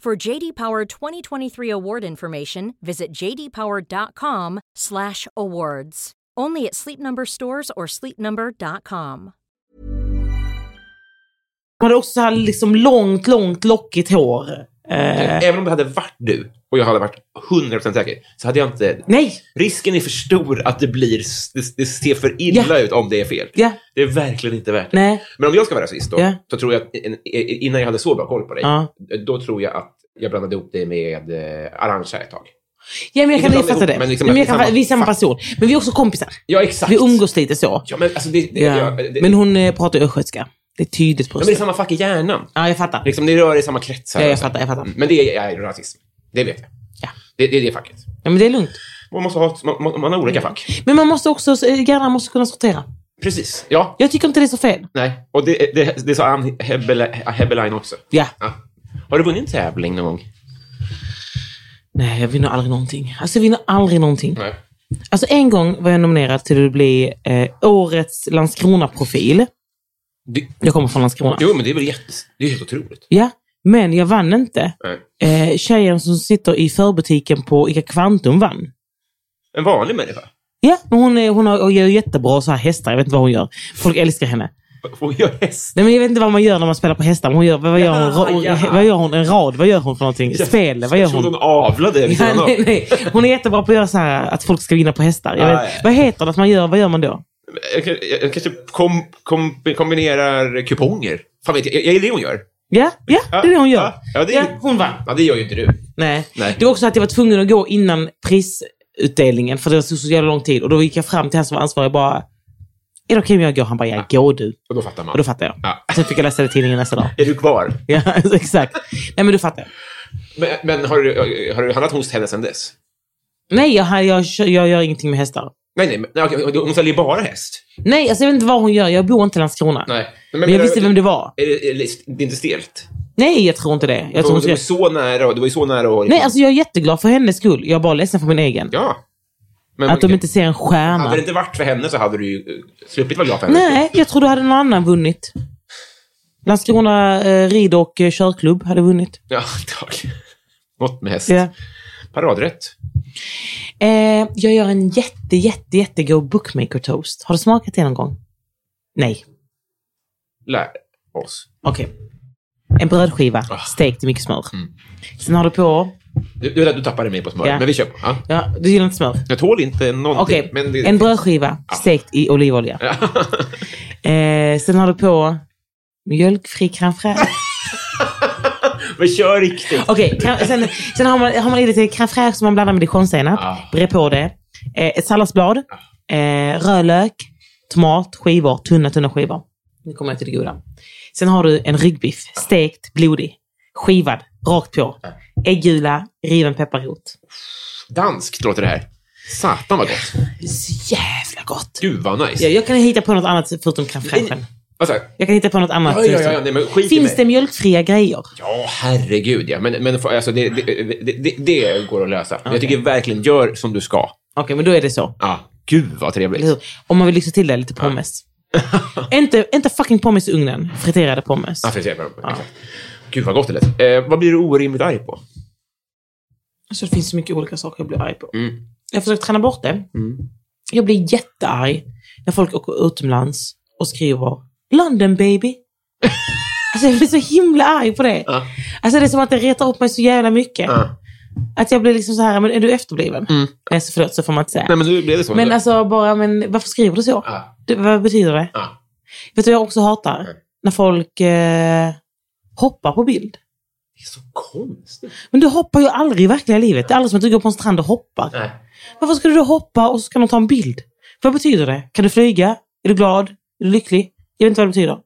S4: For JD Power 2023 award information, visit jdpower.com/awards. Only at Sleep Number stores or sleepnumber.com.
S3: Hon hade också så här liksom långt, långt lockigt hår. Eh,
S2: Även om det hade varit du och jag hade varit 100% säker så hade jag inte...
S3: nej!
S2: Risken är för stor att det, blir, det, det ser för illa ut om det är fel.
S3: Ja.
S2: Det är verkligen inte värt det.
S3: Nej.
S2: Men om jag ska vara rasist då,
S3: Ja.
S2: så tror jag att en- en- innan jag hade så bra koll på dig,
S3: Ja.
S2: då tror jag att jag blandade ihop dig med eh, Arantxa ett tag.
S3: Ja, men jag
S2: Inte
S3: kan
S2: blanda
S3: fatta
S2: ihop,
S3: det.
S2: men
S3: Men
S2: liksom
S3: men
S2: att
S3: jag
S2: vi
S3: kan,
S2: samma-
S3: vi är samma
S2: fan.
S3: person. Men vi är också kompisar.
S2: Ja, exakt.
S3: Vi umgås lite så.
S2: Ja, men alltså det... det,
S3: Ja.
S2: det, det
S3: Men hon eh, pratar östgötska. Det är tydligt på
S2: Ja, men det är
S3: rösten.
S2: samma fack i hjärnan.
S3: Ja, jag fattar.
S2: Liksom, det rör i samma kretsar.
S3: Ja, jag
S2: och så.
S3: fattar, jag fattar.
S2: Mm, Men det är, är rasism. Det vet jag.
S3: Ja.
S2: Det, det är det facket.
S3: Ja, men det är lugnt.
S2: Man måste ha, man, man man har olika fack.
S3: Men man måste också, eh, hjärnan måste kunna sortera.
S2: Precis. Ja.
S3: Jag tycker inte det är så fel.
S2: Nej. Och det, det, det sa Ann Hebele- Hebelein också.
S3: Ja.
S2: Ja. Har du vunnit en tävling någon gång?
S3: Nej, jag vinner aldrig någonting. Alltså jag vinner aldrig någonting.
S2: Nej.
S3: Alltså en gång var jag nominerad till att bli eh, årets Landskrona-profil.
S2: Det,
S3: Jag kommer från Landskrona.
S2: jo, men det är väl jättes... Det är helt otroligt.
S3: Ja, men jag vann inte.
S2: Nej.
S3: Eh, tjejen som sitter i förbutiken på Ica Kvantum vann.
S2: En vanlig människa
S3: Ja, men hon, är, hon har, och gör jättebra så här hästar. Jag vet inte vad hon gör. Folk älskar henne.
S2: får göra häst.
S3: Nej, men jag vet inte vad man gör när man spelar på hästar. men Hon gör, vad, gör hon, Ra-
S2: Ja, ja.
S3: vad gör hon? En rad? Vad gör hon för någonting? Spel? Vad gör
S2: Jag
S3: [laughs]
S2: trodde
S3: hon?
S2: hon avlade. vid
S3: Ja,
S2: sidan av.
S3: nej, nej. Hon är jättebra på att göra så här att folk ska vinna på hästar. Jag
S2: Ja,
S3: vet,
S2: ja.
S3: Vad heter det att man gör? Vad gör man då?
S2: Jag, kan- jag, jag kanske kom, kom, kombinerar kuponger. Fan vet jag, jag, är det hon gör.
S3: Ja, ja det är det hon gör.
S2: Ja, ja, det är-
S3: hon vann.
S2: Ja, det gör ju inte du.
S3: Nej.
S2: Nej.
S3: Det var också att jag var tvungen att gå innan prisutdelningen för det tog så jävla lång tid. Och då gick jag fram till han som var ansvarig och bara, är det okej om jag går? Han bara, ja gå du.
S2: Och då fattar man.
S3: Och då fattade jag.
S2: Ja.
S3: Sen fick jag läsa det i tidningen
S2: [laughs]
S3: nästa dag.
S2: Är du kvar?
S3: Ja, [laughs] alltså, exakt. Nej men du fattar. jag.
S2: Men, men har, du, har du handlat hos henne sen dess?
S3: Nej, jag, jag, jag, jag gör ingenting med hästar.
S2: Nej, nej, men, nej okej, hon säljer bara häst.
S3: Nej, alltså, jag vet inte vad hon gör. Jag bor inte i Landskrona.
S2: Nej.
S3: Men jag visste vem det var.
S2: Är det, är det, det är inte stelt?
S3: Nej, jag tror inte det. Jag
S2: Jag
S3: tror
S2: tror
S3: hon
S2: du var
S3: ska...
S2: så nära, och- du var ju så nära och...
S3: Nej, alltså jag är jätteglad för hennes skull. Jag är bara ledsen för min egen.
S2: Ja. Men,
S3: Att de inte ser en stjärna.
S2: Hade det inte varit för henne så hade du ju eh, sluppit vara glad för henne.
S3: Nej, jag tror du hade någon annan vunnit. Landskrona eh, rid och eh, körklubb hade vunnit.
S2: Ja, [laughs] tack. Något med häst.
S3: Ja.
S2: Paradrätt.
S3: Eh, jag gör en jätte, jätte, jättegod bookmaker toast. Har du smakat det någon gång? Nej.
S2: Lär oss.
S3: Okej. En brödskiva,
S2: Ah.
S3: stekt i mycket smör.
S2: Mm.
S3: Sen har du på...
S2: Du, du, du tappade mig på smör,
S3: Ja.
S2: men vi kör på. Ja.
S3: Ja, du gillar inte smör?
S2: Jag tål inte någonting.
S3: Okej.
S2: Men det,
S3: En brödskiva, stekt i olivolja. [laughs] Eh, sen har du på mjölkfri crème fraîche.
S2: men kör riktigt.
S3: Okej, kan- sen, sen har, man, har man i lite crème fraîche som man blandar med dijonsenap.
S2: Ah.
S3: Bre på det. Eh, ett salladsblad. Eh, rödlök. Tomat, skivor, tunna, tunna skivor. Nu kommer jag till det goda. Sen har du en ryggbiff, stekt, blodig, skivad, rakt på. Äggula, riven pepparrot.
S2: Danskt låter det här. Satan vad gott.
S3: Det är så jävla gott!
S2: Gud vad nice.
S3: Ja, jag kan hitta på något annat förutom crème fraîchen.
S2: Alltså,
S3: Jag kan hitta på något annat.
S2: ja, ja, ja, ja, nej, men skit i mig.
S3: Finns det mjölkfria grejer?
S2: Ja, herregud ja. Men, men alltså, det, det, det, det, det går att lösa. Jag tycker verkligen, gör som du ska.
S3: Okej, men då är det så.
S2: Ja. Gud vad
S3: Eller
S2: trevligt.
S3: hur? Om man vill lyxa till det lite pommes. [laughs] inte, inte fucking pommes i ugnen. Friterade pommes.
S2: Ja, för att se vad de- exakt. Gud vad gott det lät. Eh, vad blir du orimligt arg på?
S3: Alltså, det finns så mycket olika saker jag blir arg på.
S2: Mm.
S3: Jag försöker träna bort det. Jag blir jättearg när folk åker utomlands och skriver “London [laughs] baby”. alltså jag blir så himla arg på det.
S2: Ja.
S3: Alltså det är som att det retar upp mig så jävla mycket.
S2: Ja.
S3: Att jag blir liksom så här, men är du efterbliven? Mm. Nej, så förlåt, så får man inte säga.
S2: Nej, men nu blev det så.
S3: Men alltså bara, men varför skriver du så?
S2: Ja.
S3: Du, vad betyder det?
S2: Ja.
S3: Vet du vad jag också hatar? När folk eh, hoppar på bild.
S2: Det är så konstigt.
S3: Men du hoppar ju aldrig i verkliga livet. Det är aldrig som att du går på en strand och hoppar.
S2: Nej.
S3: Varför ska du då hoppa och så ska någon ta en bild? Vad betyder det? Kan du flyga? Är du glad? Är du lycklig? Jag vet inte vad det betyder.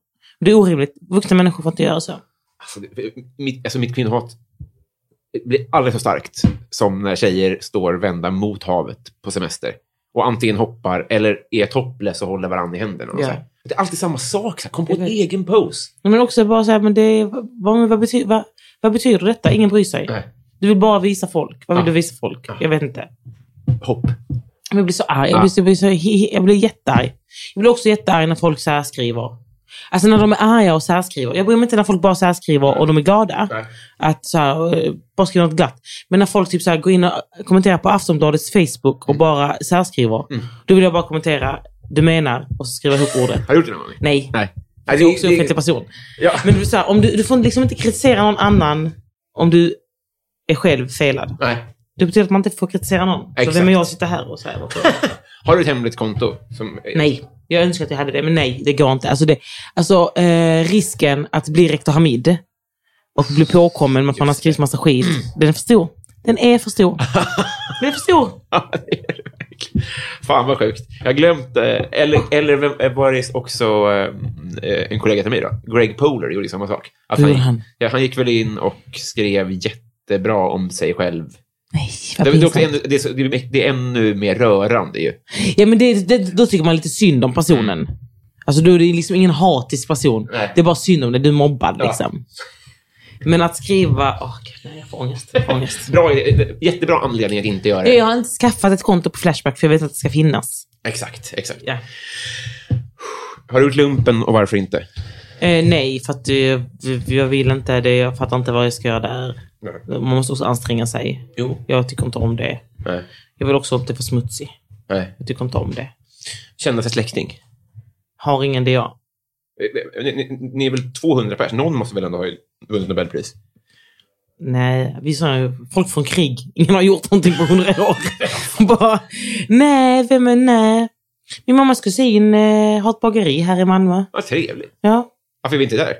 S3: Det är orimligt. Vuxna människor får inte göra så.
S2: Alltså, det- mitt, alltså mitt kvinnohat blir aldrig så starkt som när tjejer står vända mot havet på semester och antingen hoppar eller är topless och håller varandra i händerna. Och
S3: Ja.
S2: så här. Det är alltid samma sak. Så här. Kom på
S3: Jag
S2: en
S3: vet.
S2: egen pose.
S3: Men också bara så här, men det, vad, men vad, bety, vad, vad betyder detta? Ingen bryr sig.
S2: Nej.
S3: Du vill bara visa folk. Vad vill
S2: Ja.
S3: du visa folk?
S2: Ja.
S3: Jag vet inte.
S2: Hopp.
S3: Men Jag blir så
S2: Ja.
S3: arg. Jag blir, så, jag blir, så, he- he- jag blir jättearg. Jag blir också jättearg när folk särskriver. Alltså när de är arga och särskriver. Jag bryr mig inte när folk bara särskriver och de är glada.
S2: Nej.
S3: Att så här, eh, bara skriva något glatt. Men när folk typ så här, går in och kommenterar på Aftonbladets
S2: Mm.
S3: Facebook och bara särskriver. Då vill jag bara kommentera, du menar, och så skriva ihop ordet.
S2: Har du gjort det någon gång?
S3: Nej.
S2: Nej.
S3: Du är också en offentlig person.
S2: Ja.
S3: Men du, så här, om du, du får liksom inte kritisera någon annan om du är själv felad.
S2: Nej.
S3: Det betyder att man inte får kritisera någon.
S2: Exakt.
S3: Så vem är jag att sitta här och säga varför?
S2: Har du ett hemligt konto? Som,
S3: Nej, jag önskar att jag hade det, men nej, det går inte. Alltså, det, alltså eh, risken att bli rektor Hamid och bli påkommen med att man har skrivit massa skit, den är för stor. Den är för stor. den är för stor.
S2: [laughs] Ja, det är det verkligen. Fan vad sjukt. Jag har glömt, eh, eller, eller vem- var det också eh, en kollega till mig då? Greg Poler gjorde samma sak. Att
S3: Hur gjorde han?
S2: Ja, han gick väl in och skrev jättebra om sig själv.
S3: Nej,
S2: Det,
S3: vad
S2: det, är också
S3: pinsamt.
S2: ännu, det, är så, det, är, det är ännu mer rörande ju.
S3: Ja, men det, det, då tycker man lite synd om personen. Alltså du är det liksom ingen hatisk person.
S2: Nej.
S3: Det är bara synd om dig, du är mobbad
S2: Ja.
S3: liksom. Men att skriva... Åh gud, nej, jag får ångest. Jag får ångest.
S2: Bra, idé. jättebra anledning att inte göra det.
S3: Jag har inte skaffat ett konto på Flashback för jag vet att det ska finnas.
S2: Exakt, exakt.
S3: Ja.
S2: Har du gjort lumpen och varför inte?
S3: Eh, nej, för att eh, jag vill inte det. Jag fattar inte vad jag ska göra där.
S2: Nej.
S3: Man måste också anstränga sig.
S2: Jo.
S3: Jag tycker inte om det.
S2: Nej.
S3: Jag vill också inte vara smutsig.
S2: Nej.
S3: Jag tycker inte om det.
S2: Kända sig släkting.
S3: Har ingen det jag.
S2: Eh, Ni, ni, ni är väl 200 pers? Någon måste väl ändå ha vunnit Nobelpris?
S3: Nej, vi sa ju folk från krig. [laughs] Ingen har gjort någonting på hundra år. [laughs] Bara, nej, vem är nej? Min mammas kusin eh, har ett bageri här i Malmö.
S2: Vad trevligt.
S3: Ja.
S2: Varför är vi inte där?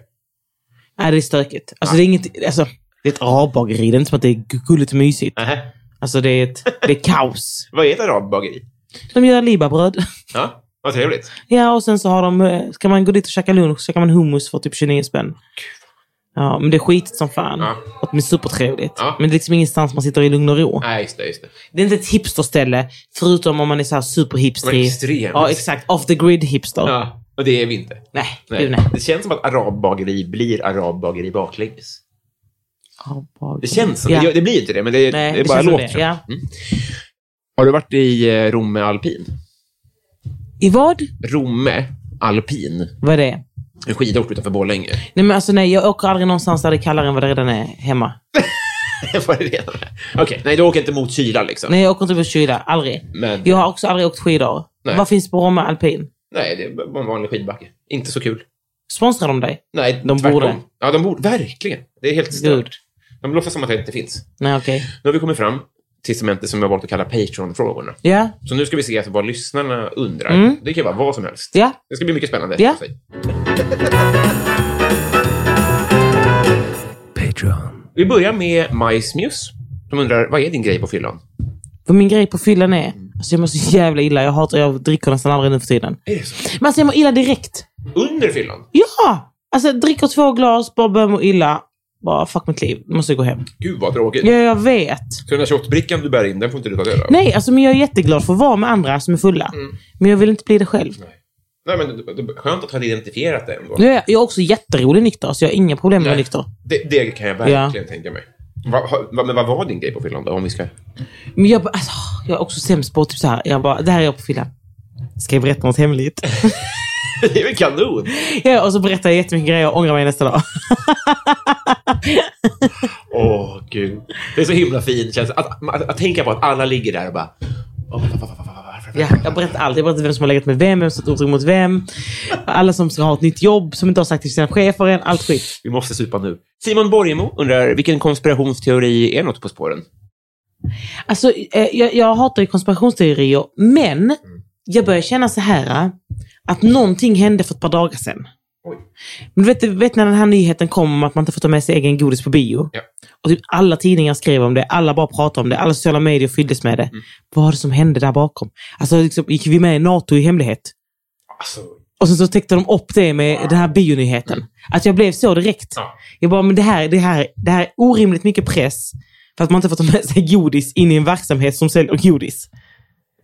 S3: Nej, det är stökigt. Alltså, det är inget... Alltså, det är ett arabbageri. Det är inte som att det är gulligt och mysigt.
S2: Nähä.
S3: Alltså, det är, ett, det är kaos.
S2: Vad är ett arabbageri?
S3: De gör libabröd.
S2: Ja, vad trevligt.
S3: Ja, och sen så har de... eh, Ska man gå dit och käka lunch så kan man hummus för typ 29 spänn. Ja, men det är skitigt som fan.
S2: Ja.
S3: Och det är supertrevligt.
S2: Ja.
S3: Men det är liksom ingenstans man sitter i lugn och ro.
S2: Nej, just det. Just det.
S3: Det är inte ett hipsterställe, förutom om man är så här superhipstrig.
S2: Men extrem.
S3: Ja, exakt. Off the grid hipster.
S2: Ja, och det är vi inte.
S3: Nej, nej.
S2: Nej.
S3: Gud, nej.
S2: Det känns som att arabbageri blir arabbageri baklänges.
S3: Arabbageri.
S2: Det känns som
S3: Ja.
S2: det. Det blir ju inte det, men det,
S3: Nej,
S2: det
S3: det
S2: bara
S3: känns som
S2: låter
S3: det,
S2: så.
S3: ja.
S2: Mm. Har du varit i eh, Romme alpin?
S3: I vad?
S2: Romme alpin,
S3: Vad är det?
S2: en skidort utanför [laughs] Borlänge.
S3: Nej, men alltså nej, jag åker aldrig någonstans där det är kallare än vad det redan är hemma.
S2: Var det det? Okej, nej, du åker inte mot kyla liksom.
S3: Nej, jag åker inte på kyla. Aldrig.
S2: Men
S3: Jag har också aldrig åkt skidor.
S2: Nej.
S3: Vad finns på Bromma alpin?
S2: nej, det var en vanlig skidbacke. Inte så kul.
S3: Sponsrar de dig?
S2: Nej,
S3: De
S2: tvärtom.
S3: borde.
S2: Ja, de borde. Verkligen. Det är helt
S3: Gud.
S2: stört. De låtsas som att det inte finns.
S3: Nej, okej.
S2: Nu har vi kommit fram till segmentet som jag valt att kalla Patreon-frågorna.
S3: Ja,
S2: Så nu ska vi se vad lyssnarna undrar. Det kan vara vad som helst.
S3: Mm. ja.
S2: Det ska bli mycket spännande.
S3: Ja.
S2: Patreon. Vi börjar med Majsmjus, som undrar vad är din grej på fyllan?
S3: Vad min grej på fyllan är, alltså jag mår så jävla illa. Jag hatar, jag dricker nästan aldrig nu för tiden.
S2: Är det så?
S3: Men alltså jag mår illa direkt.
S2: Under fyllan?
S3: Ja! Alltså jag dricker två glas, bara börjar må illa. Bara fuck mitt liv, nu måste jag gå hem.
S2: Gud vad tråkigt.
S3: Ja, jag vet.
S2: Så den där shotbrickan du bär in, den får inte du ta del av?
S3: Nej, alltså men jag är jätteglad för att vara med andra som är fulla. Men jag vill inte bli det själv.
S2: Mm. Nej, men det- det- skönt att ha identifierat det ändå.
S3: Nu är jag, jag är också jätterolig nykter, så jag har inga problem med att
S2: Nej.
S3: vara nykter.
S2: Det, det kan jag verkligen tänka mig. Va, ha, va, men vad var din grej på fyllan då? Om vi ska...
S3: Men jag, bara, alltså, jag är också sämst på typ så här. Jag bara, det här är jag på fyllan. Ska jag berätta
S2: [laughs]
S3: något hemligt?
S2: [laughs] det är väl kanon?
S3: ja, och så berättar jag jättemycket grejer och ångrar mig nästa dag.
S2: Åh, gud. Det är så himla fint. Känns att, att, att tänka på att alla ligger där och bara... "Åh, va- va- va- va- va- va- varför-
S3: Ja, jag berättar allt. Jag berättar vem som har legat med vem, vem som har tagit mot vem. Alla som ska ha ett nytt jobb, som inte har sagt till sina chefer än. Allt skit.
S2: Vi måste supa nu. Simon Borgemo undrar, vilken konspirationsteori är något på spåren?
S3: Alltså, eh, jag, jag hatar ju konspirationsteorier, men jag börjar känna så här eh, att någonting hände för ett par dagar sedan. Men du vet, du vet när den här nyheten kom om att man inte får ta med sig egen godis på bio?
S2: Ja.
S3: Och typ alla tidningar skrev om det, alla bara pratade om det, alla sociala medier fylldes med det. Vad var det som hände där bakom? Alltså, liksom, gick vi med i NATO i hemlighet?
S2: Alltså,
S3: Och sen så täckte de upp det med den här bionyheten. Att jag blev så direkt.
S2: Ja.
S3: Jag bara, men det här, det, här, det här är orimligt mycket press för att man inte får ta med sig godis in i en verksamhet som säljer godis.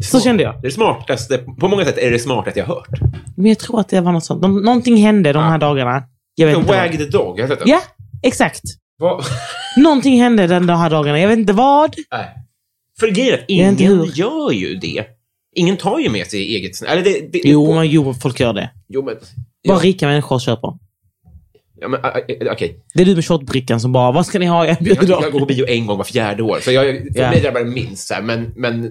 S3: Så kände jag.
S2: Det smartaste, på många sätt är det smartaste jag hört.
S3: Men jag tror att det var något sånt. De, någonting hände de här dagarna. Jag vet inte vad.
S2: Wag the dog, har du sett den?
S3: Ja, exakt.
S2: Vad-
S3: Någonting hände den de här dagarna. Jag vet inte vad.
S2: Nej. För grejen är att
S3: vet inte
S2: ingen
S3: hur.
S2: gör ju det. Ingen tar ju med sig eget snö. Eller det, det,
S3: Jo, men, jo folk gör det.
S2: jo, men...
S3: Bara
S2: Ja,
S3: rika människor köper.
S2: ja, men, ä- ä- ä- Okej.
S3: Det är du med shotbrickan som bara, vad ska ni ha? Jag
S2: Jag,
S3: bjuder
S2: jag går på bio en gång var fjärde år, så jag, för
S3: Ja.
S2: mig drabbar det minst. Så här, men, men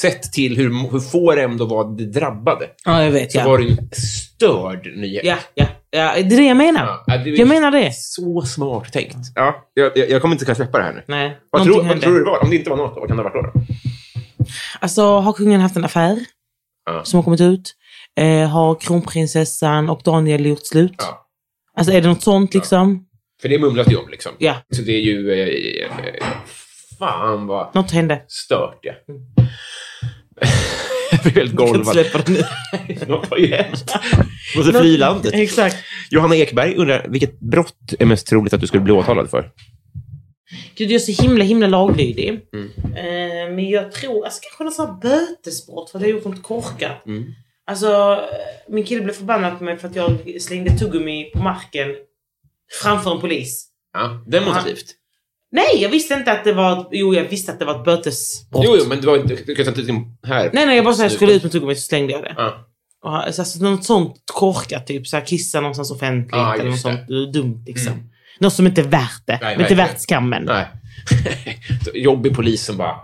S2: sett till hur, hur få det ändå var det drabbade,
S3: Ja, jag vet.
S2: så
S3: Ja.
S2: var det ju en störd nyhet.
S3: Ja, ja, ja. Det är det jag menar.
S2: Ja, det är
S3: Jag menar det.
S2: Så smart tänkt. Ja, jag, jag jag kommer inte kunna släppa det här nu.
S3: Nej,
S2: Vad,
S3: någonting
S2: tror, vad
S3: hände.
S2: tror du det var? Om det inte var något, vad kan det ha varit då?
S3: Alltså, har kungen haft en affär
S2: Ja.
S3: som har kommit ut? Eh, har kronprinsessan och Daniel gjort slut?
S2: Ja.
S3: Alltså, är det något sånt liksom?
S2: För det mumlas ju om liksom.
S3: Ja,
S2: Så det är ju... Eh, eh, fan vad
S3: något hände.
S2: stört ja. [laughs] Jag blir helt
S3: Jag kan inte
S2: golvad.
S3: släppa det
S2: [laughs]
S3: nu.
S2: Något har ju hänt. Måste fly landet.
S3: Exakt.
S2: Johanna Ekberg undrar, vilket brott är mest troligt att du skulle bli åtalad för?
S3: Gud, jag är så himla, himla laglydig.
S2: Mm.
S3: Eh, men jag tror, alltså kanske något sånt här bötesbrott för att jag gjort något korkat.
S2: Mm.
S3: Alltså, eh, min kille blev förbannad på mig för att jag slängde tuggummi på marken framför en polis.
S2: Ja, demonstrativt.
S3: Nej, jag visste inte att det var... Jo, jag visste att det var ett bötesbrott.
S2: Jo, jo, men det var inte... Du kan inte liksom här.
S3: Nej, nej, jag bara så här, skulle ut med tuggummit så slängde jag det.
S2: Ja.
S3: Och, ha- så- alltså, något sånt korkat, typ så här, kissa någonstans offentligt
S2: Ja,
S3: eller något
S2: just Mm.
S3: sånt dumt liksom. Något som inte är värt det.
S2: Nej,
S3: inte
S2: verkligen.
S3: värt skammen.
S2: Nej. [laughs] Så Jobbig polis som bara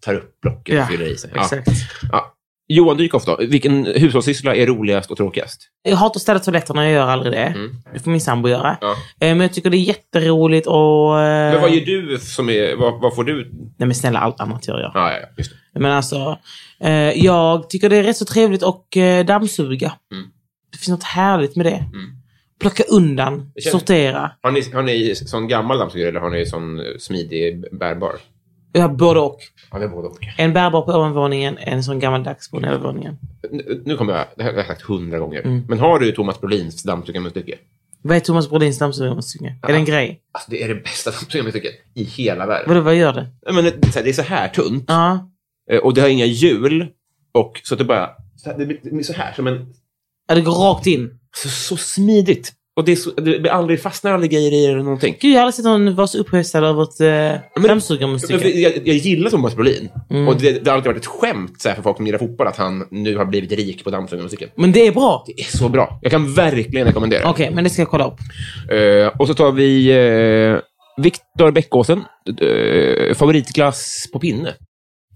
S2: tar upp blocket
S3: Ja,
S2: och fyller i sig. Ja.
S3: Exakt.
S2: Ja. Johan Dykhoff då, vilken hushållssyssla är roligast och tråkigast?
S3: Jag hatar att städa toaletterna, jag gör aldrig det. Det får min sambo göra.
S2: Mm. Ja.
S3: Eh, Men jag tycker det är jätteroligt och... eh,
S2: Men vad gör du som är... Vad, vad får du?
S3: Nej men snälla, allt annat gör jag.
S2: Ja, ja, just det.
S3: Men alltså, eh, jag tycker det är rätt så trevligt att eh, dammsuga.
S2: Mm.
S3: Det finns något härligt med det. Plocka undan,
S2: Jag känner-
S3: sortera.
S2: Har ni, har ni sån gammal dammsugare eller har ni sån eh, smidig bärbar?
S3: Jag har både och.
S2: Ja, det är både och.
S3: En bärbar på ovanvåningen, en sån gammaldags på nedervåningen.
S2: Nu- Nu kommer jag... Det här har jag sagt hundra gånger. Men har du Thomas Brolins dammsugarmunstycke?
S3: Vad är Thomas Brodins dammsugarmunstycke? Är det en grej?
S2: Alltså, det är det bästa dammsugarmunstycket i hela världen.
S3: Vadå, vad gör det?
S2: Nej, men det, är så här- det är så här tunt.
S3: Ja.
S2: Eh, Och det har inga hjul. Och så att det bara... Så här, det blir det blir så här som en...
S3: ja, det går rakt in.
S2: Så, så smidigt. Och det, är så, det blir aldrig, fastnar aldrig grejer i det eller någonting.
S3: Gud, jag har aldrig sett någon vara så upphetsad över ett eh,
S2: men- Jag, Mm.
S3: dammsugarmunstycke.
S2: jag, jag gillar Thomas Brolin.
S3: Mm.
S2: Och det, det har alltid varit ett skämt så här, för folk som gillar fotboll att han nu har blivit rik på dammsugarmusiken.
S3: Men det är bra.
S2: Det är så bra. Jag kan verkligen rekommendera det.
S3: Okej, men det ska jag kolla upp.
S2: Eh, och så tar vi eh, Viktor Bäckåsen. Eh, favoritglass på pinne.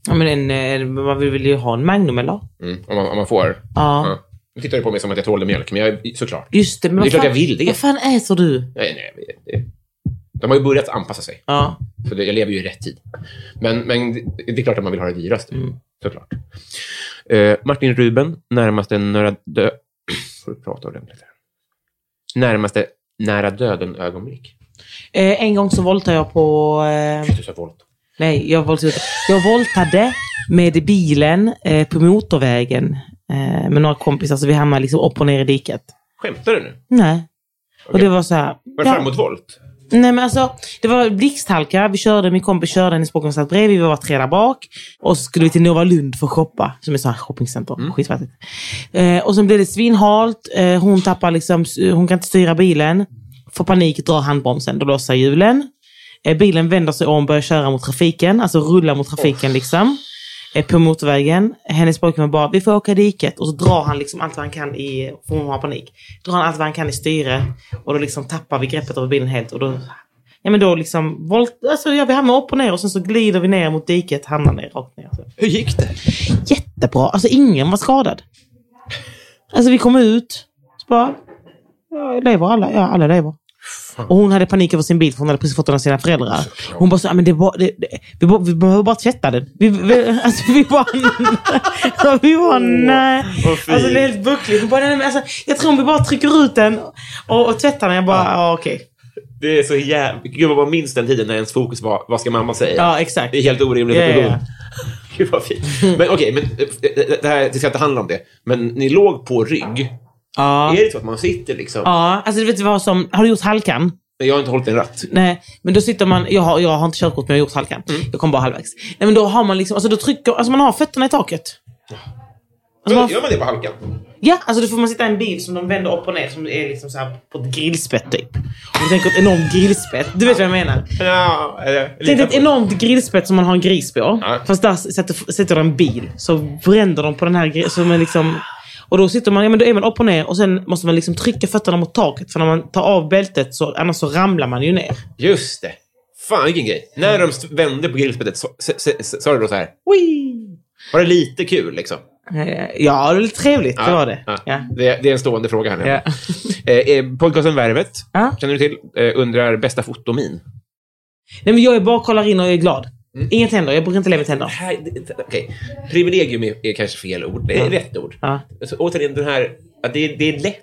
S3: Ja, men en, eh, man vill vill ju ha en Magnum eller?
S2: Mm, om, man, om man får.
S3: Ja.
S2: Ja. Nu tittar du på mig som att jag tålde mjölk, men jag, såklart.
S3: Just det, men
S2: Det är
S3: vad
S2: klart
S3: fan-
S2: jag vill det.
S3: Vad fan äter du?
S2: Nej, nej, det, de har ju börjat anpassa sig.
S3: Ja.
S2: Så det, jag lever ju i rätt tid. Men, men det, det är klart att man vill ha det dyraste. Såklart. Eh, Martin Ruben, närmaste nära dö... [clears throat] Får du prata ordentligt här? Närmaste nära döden-ögonblick.
S3: Eh, en gång så våldtade jag på... Eh,
S2: Du sa våld.
S3: nej, jag våldtade, jag våldtade med bilen eh, på motorvägen eh, med några kompisar. Så vi hamnade liksom upp och ner i diket.
S2: Skämtar du nu?
S3: Nej. Och
S2: Okej.
S3: det var så här...
S2: Var det
S3: ja.
S2: framåtvolt?
S3: Nej men alltså, det var blixthalka. Vi körde, min kompis körde, hennes pojkvän satt bredvid, vi var tre där bak. Och så skulle vi till Nova Lund för att shoppa, som är ett sånt här shoppingcenter.
S2: Mm.
S3: Skitfattigt. Eh, och sen blev det svinhalt. Eh, hon tappar liksom, hon kan inte styra bilen. Får panik, drar handbromsen, då lossar hjulen. Eh, bilen vänder sig om, börjar köra mot trafiken, alltså rullar mot trafiken liksom. Eh, på motorvägen. Hennes pojkvän bara, vi får åka i diket. Och så drar han liksom allt vad han kan i, för hon har panik. Drar han allt vad han kan i styret. Och då liksom tappar vi greppet över bilen helt. Och då, ja men då liksom, volt, alltså ja, vi hamnar upp och ner och sen så glider vi ner mot diket, hamnar ner, rakt ner. Så.
S2: Hur gick det?
S3: Jättebra, alltså ingen var skadad. Alltså vi kom ut, så bara, ja, lever alla, ja alla lever.
S2: fan.
S3: Och hon hade panik över sin bil för hon hade precis fått den av sina föräldrar. Hon bara, så, "Ah, men det var, det, det, vi, bara- vi behöver bara tvätta den. Vi, vi, alltså, vi bara, [laughs] vi bara nej. Alltså, det är helt buckligt. Hon bara, nej, men alltså, jag tror om vi bara trycker ut den och, och tvättar den. Jag bara, ja okej.
S2: Det är så jävla... Gud vad man minns den tiden när ens fokus var vad ska mamma säga?
S3: Ja, exakt.
S2: Det är helt orimligt.
S3: Ja, ja, ja.
S2: [laughs] Gud vad fint. Men okej, men eh, det här det ska inte handla om det. Men ni låg på rygg.
S3: Ja.
S2: Är det så att man sitter liksom?
S3: Ja, alltså du vet vad som, har du gjort halkan?
S2: Jag har inte hållit en ratt.
S3: Nej, men då sitter man, jag har, jag har inte körkort men jag har gjort halkan. Jag kom bara halvvägs. Nej men då har man liksom, alltså då trycker, alltså man har fötterna i taket. Alltså, man,
S2: Gör man det på halkan?
S3: ja, alltså då får man sitta i en bil som de vänder upp och ner som är liksom så här på ett grillspett typ. Om du tänker ett enormt grillspett, du vet vad jag menar.
S2: Ja, eller...
S3: Tänk dig ett enormt grillspett som man har en gris på.
S2: Ja.
S3: Fast där sätter, sätter de en bil. Så bränner de på den här gri- som är liksom... Och då sitter man, ja men då är man upp och ner och sen måste man liksom trycka fötterna mot taket. För när man tar av bältet så, annars så ramlar man ju ner.
S2: Just det. Fan, vilken grej. När de st- vände på grillspettet, sa- sa- sa- sa sa du då så här...
S3: Wee!
S2: Var det lite kul, liksom?
S3: Eh, Ja, det var lite trevligt. Det var det.
S2: Ja.
S3: Ja.
S2: Det, det är en stående fråga här nu.
S3: Ja.
S2: [laughs] Eh, eh, podcasten Värvet,
S3: Ja.
S2: känner du till, eh, undrar bästa fotomin.
S3: Nej, men jag är bara kollar in och är glad.
S2: Mm.
S3: Inget händer. Jag brukar inte leva med tänder.
S2: Här, det- det- Okej, privilegium är, är kanske fel ord. Det är rätt ord.
S3: Ja.
S2: Så, återigen, den här, att det, är- det är lätt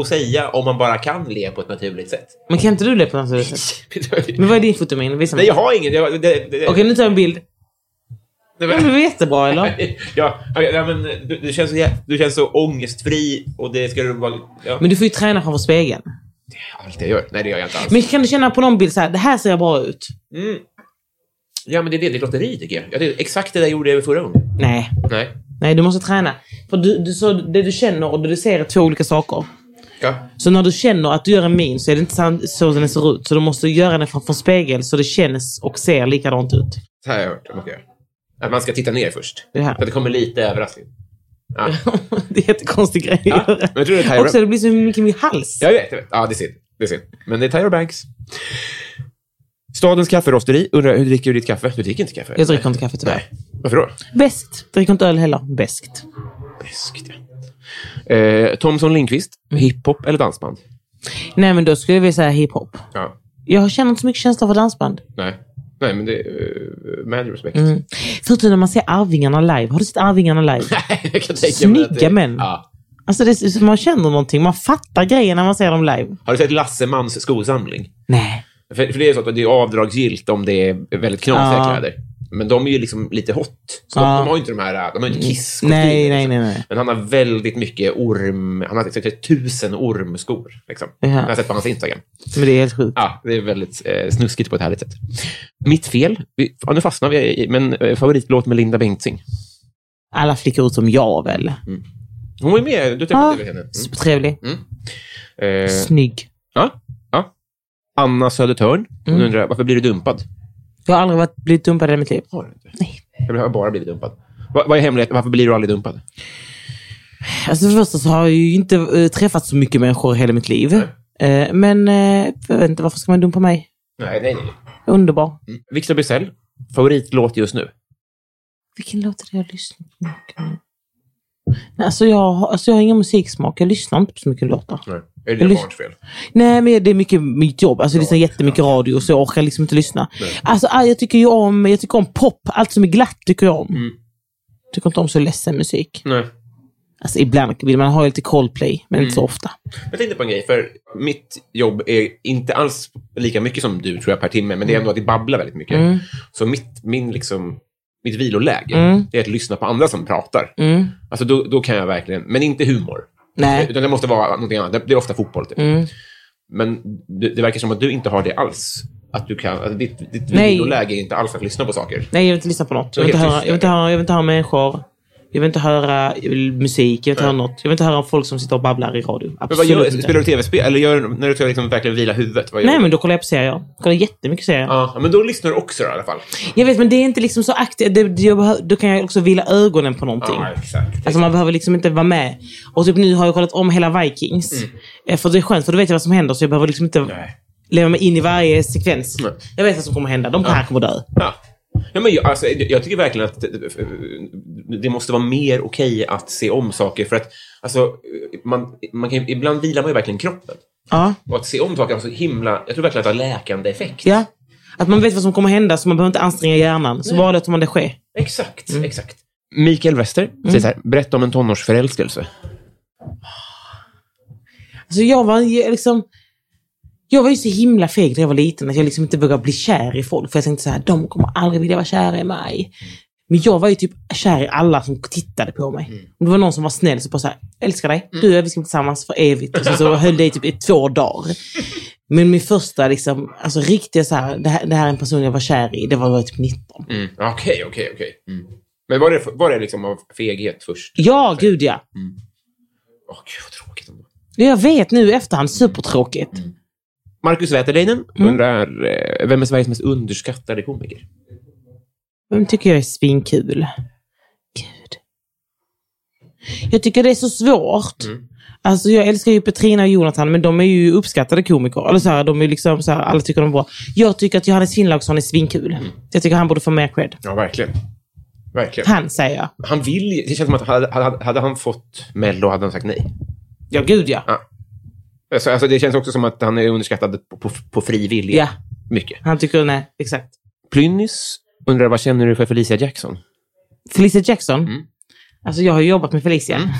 S2: att säga om man bara kan le på ett naturligt sätt. [laughs]
S3: Men kan inte du leva på något sådant sätt? Men vad är din fotomin? Visa
S2: Nej,
S3: mig.
S2: jag har ingen. Jag, det, det, det,
S3: Okej, nu tar jag en bild. [clears throat]
S2: det, [laughs]
S3: Ja, men Det var jättebra, eller?
S2: ja, okej, ja, men du, du, känns så, jä- du känns så ångestfri och det ska du vara... Ja,
S3: Men du får ju träna framför spegeln.
S2: allt jag gör. Nej, det gör jag inte alls.
S3: Men kan du känna på någon bild så här, det här ser jag bra ut?
S2: Mm. Ja, men det är det. Det är lotteri, tycker jag. Ja, det, exakt det där gjorde jag förra gången.
S3: Nej,
S2: Nej.
S3: nej du måste träna. För du, du, så, det du känner och det du ser är två olika saker.
S2: Ja.
S3: Så när du känner att du gör en min så är det inte sant- så den ser ut. Så du måste göra den framför en spegel så det känns och ser likadant ut. [laughs]
S2: Så här har jag hört att man ska göra. Att man ska titta ner först.
S3: Det här.
S2: Så att det kommer lite överraskning.
S3: [laughs]
S2: Ja.
S3: det är jättekonstig grej att
S2: Ja,
S3: göra.
S2: men jag tror det är Tyra-
S3: Också det blir så mycket mer hals.
S2: Jag vet, jag vet. Ja, det är synd. Det är synd. Men det är Tyra Banks. Stadens kafferosteri. Undrar, hur dricker du ditt kaffe? Du dricker inte kaffe?
S3: Jag dricker inte kaffe tyvärr.
S2: Nej. Varför då?
S3: Bäst. Dricker inte öl heller. Bäst.
S2: Beskt, ja. Eh, Thomson Lindqvist.
S3: Mm.
S2: Hiphop eller dansband?
S3: Nej men då skulle jag vilja säga hiphop.
S2: Ja.
S3: Jag känner inte så mycket känsla för dansband.
S2: Nej. Nej, men det... Uh, med respekt.
S3: Mm. Förutom när man ser Arvingarna live. Har du sett Arvingarna live?
S2: [laughs] jag kan tänka mig att det-
S3: Snygga män.
S2: Ja.
S3: Alltså det är så, man känner någonting. Man fattar grejer när man ser dem live.
S2: Har du sett Lassemans skosamling?
S3: Nej.
S2: För, för det är så att det är avdragsgillt om det är väldigt knasiga
S3: Ja.
S2: kläder. Men de är ju liksom lite hot. Så
S3: Ja. Mm.
S2: de, de har ju inte de här, de har ju inte kiss
S3: Nej, nej, nej, nej.
S2: Men han har väldigt mycket orm, han har säkert tusen ormskor. Liksom.
S3: Ja.
S2: Jag har sett på hans Instagram.
S3: Men det är helt sjukt.
S2: Ja, det är väldigt eh, snuskigt på ett härligt sätt. Mitt fel, vi, ja, nu fastnar vi i, men eh, favoritlåt med Linda Bengtzing.
S3: Alla flickor utom jag väl.
S2: Mm. Hon var ju med, du
S3: Ja.
S2: träffade väl henne? Mm.
S3: Trevlig.
S2: Eh,
S3: Snygg.
S2: ja, ja. Anna Södertörn, hon
S3: Mm.
S2: undrar, varför blir du dumpad?
S3: Jag har aldrig varit, blivit dumpad i mitt liv.
S2: Har du inte?
S3: Nej.
S2: Jag har bara blivit dumpad. Va- Vad är hemligheten? Varför blir du aldrig dumpad?
S3: Alltså för det första så har jag ju inte eh, träffat så mycket människor i hela mitt liv. Eh, men eh, jag vet inte, varför ska man dumpa mig?
S2: Nej, nej, nej.
S3: Underbar.
S2: Victor Bysell, favoritlåt just nu?
S3: Vilken låt är det jag lyssnar på mycket nu? Nej, alltså, jag, har- alltså jag har ingen musiksmak. Jag lyssnar inte på så mycket låtar.
S2: Nej. Är
S3: dina barns
S2: fel?
S3: Nej, men det är mycket mitt jobb. Alltså, jag lyssnar jättemycket radio så jag orkar liksom inte lyssna. Alltså, ah, jag tycker ju om, jag tycker om pop. Allt som är glatt tycker jag om.
S2: Mm.
S3: Tycker inte om så ledsen musik.
S2: Nej.
S3: Alltså, ibland vill man ha lite Coldplay, men
S2: Mm.
S3: inte så ofta.
S2: Jag tänkte på en grej, för mitt jobb är inte alls lika mycket som du tror jag per timme, men det är ändå att det babblar väldigt mycket.
S3: Mm.
S2: Så mitt, min liksom, mitt viloläge
S3: Mm.
S2: är att lyssna på andra som pratar. Alltså då, då kan jag verkligen, men inte humor.
S3: Nej. Mm.
S2: Utan det måste vara någonting annat. Det- Det är ofta fotboll. Typ. Men det, det verkar som att du inte har det alls. Att du kan, alltså ditt ditt
S3: Nej.
S2: viloläge är inte alls att lyssna på saker.
S3: Nej, jag vill inte lyssna på något. Jag
S2: är
S3: vill inte
S2: helt
S3: höra,
S2: tyst,
S3: jag vill inte höra, jag vill inte höra människor. Jag vill inte höra eh, musik, jag vill inte höra något. Jag vill inte höra folk som sitter och babblar i radio.
S2: Men vad
S3: Absolut
S2: gör,
S3: inte.
S2: spelar du tv-spel? Eller gör, när du ska liksom verkligen vila huvudet? Vad gör
S3: Nej,
S2: du?
S3: men då kollar jag på serier. Jag kollar jättemycket serier.
S2: Ja, men då lyssnar du också då, i alla fall.
S3: Jag vet, men det är inte liksom så aktivt. Det, det, jag behö- då kan jag också vila ögonen på någonting.
S2: exakt.
S3: Alltså man behöver liksom inte vara med. Och typ nu har jag kollat om hela Vikings. Eh, För det är skönt, för då vet jag vad som händer. Så jag behöver liksom inte
S2: Mm. Nej.
S3: leva mig in i varje sekvens.
S2: Nej.
S3: Jag vet vad som kommer hända. De här kommer dö.
S2: Ja. Ja, men jag, alltså, jag tycker verkligen att eh, det måste vara mer okej att se om saker. För att alltså, man, man kan, ibland vilar man ju verkligen kroppen.
S3: Ja.
S2: Och att se om saker har så himla... Jag tror verkligen att det har läkande effekt.
S3: ja. Att man vet vad som kommer hända så man behöver inte anstränga hjärnan. Så bara låter man det ske.
S2: Exakt, exakt. Mm. Mikael Wester säger så här, berätta om en tonårsförälskelse.
S3: Alltså jag var ju liksom... Jag var ju så himla feg när jag var liten att jag liksom inte vågade bli kär i folk. För jag tänkte så här, de kommer aldrig vilja vara kära i mig. Men jag var ju typ kär i alla som tittade på mig. Om det var någon som var snäll så bara så här, älskar dig, du och jag, vi ska bli tillsammans för evigt. Och så, så höll det i typ i två dagar. Men min första liksom, alltså riktiga så här, det här, det här är en person jag var kär i, det var, var jag typ 19.
S2: Mm. Okej, okej, okej. Mm. Men var det, var det liksom av feghet först?
S3: Ja, gud ja.
S2: Åh, gud vad tråkigt ändå.
S3: Jag vet nu i efterhand, supertråkigt.
S2: Markus Wäterleinen undrar, eh, vem är Sveriges mest underskattade komiker?
S3: Vem tycker jag är svinkul? Gud. Jag tycker det är så svårt. Alltså jag älskar ju Petrina och Jonathan, men de är ju uppskattade komiker. Eller så här, de är liksom så här, alla tycker de är bra. Jag tycker att Johannes Finnlaugsson är svinkul. Jag tycker han borde få mer cred.
S2: Ja, verkligen. Verkligen.
S3: Han säger jag.
S2: Han vill ju- Det känns som att hade, hade, hade han fått Mello hade han sagt nej.
S3: Ja, gud ja.
S2: Alltså, alltså, det känns också som att han är underskattad på, på, på fri vilja.
S3: Ja.
S2: Mycket.
S3: Han tycker, nej, exakt.
S2: Plynnis undrar, vad känner du för Felicia Jackson?
S3: Felicia Jackson. Alltså jag har ju jobbat med Felicia. [laughs]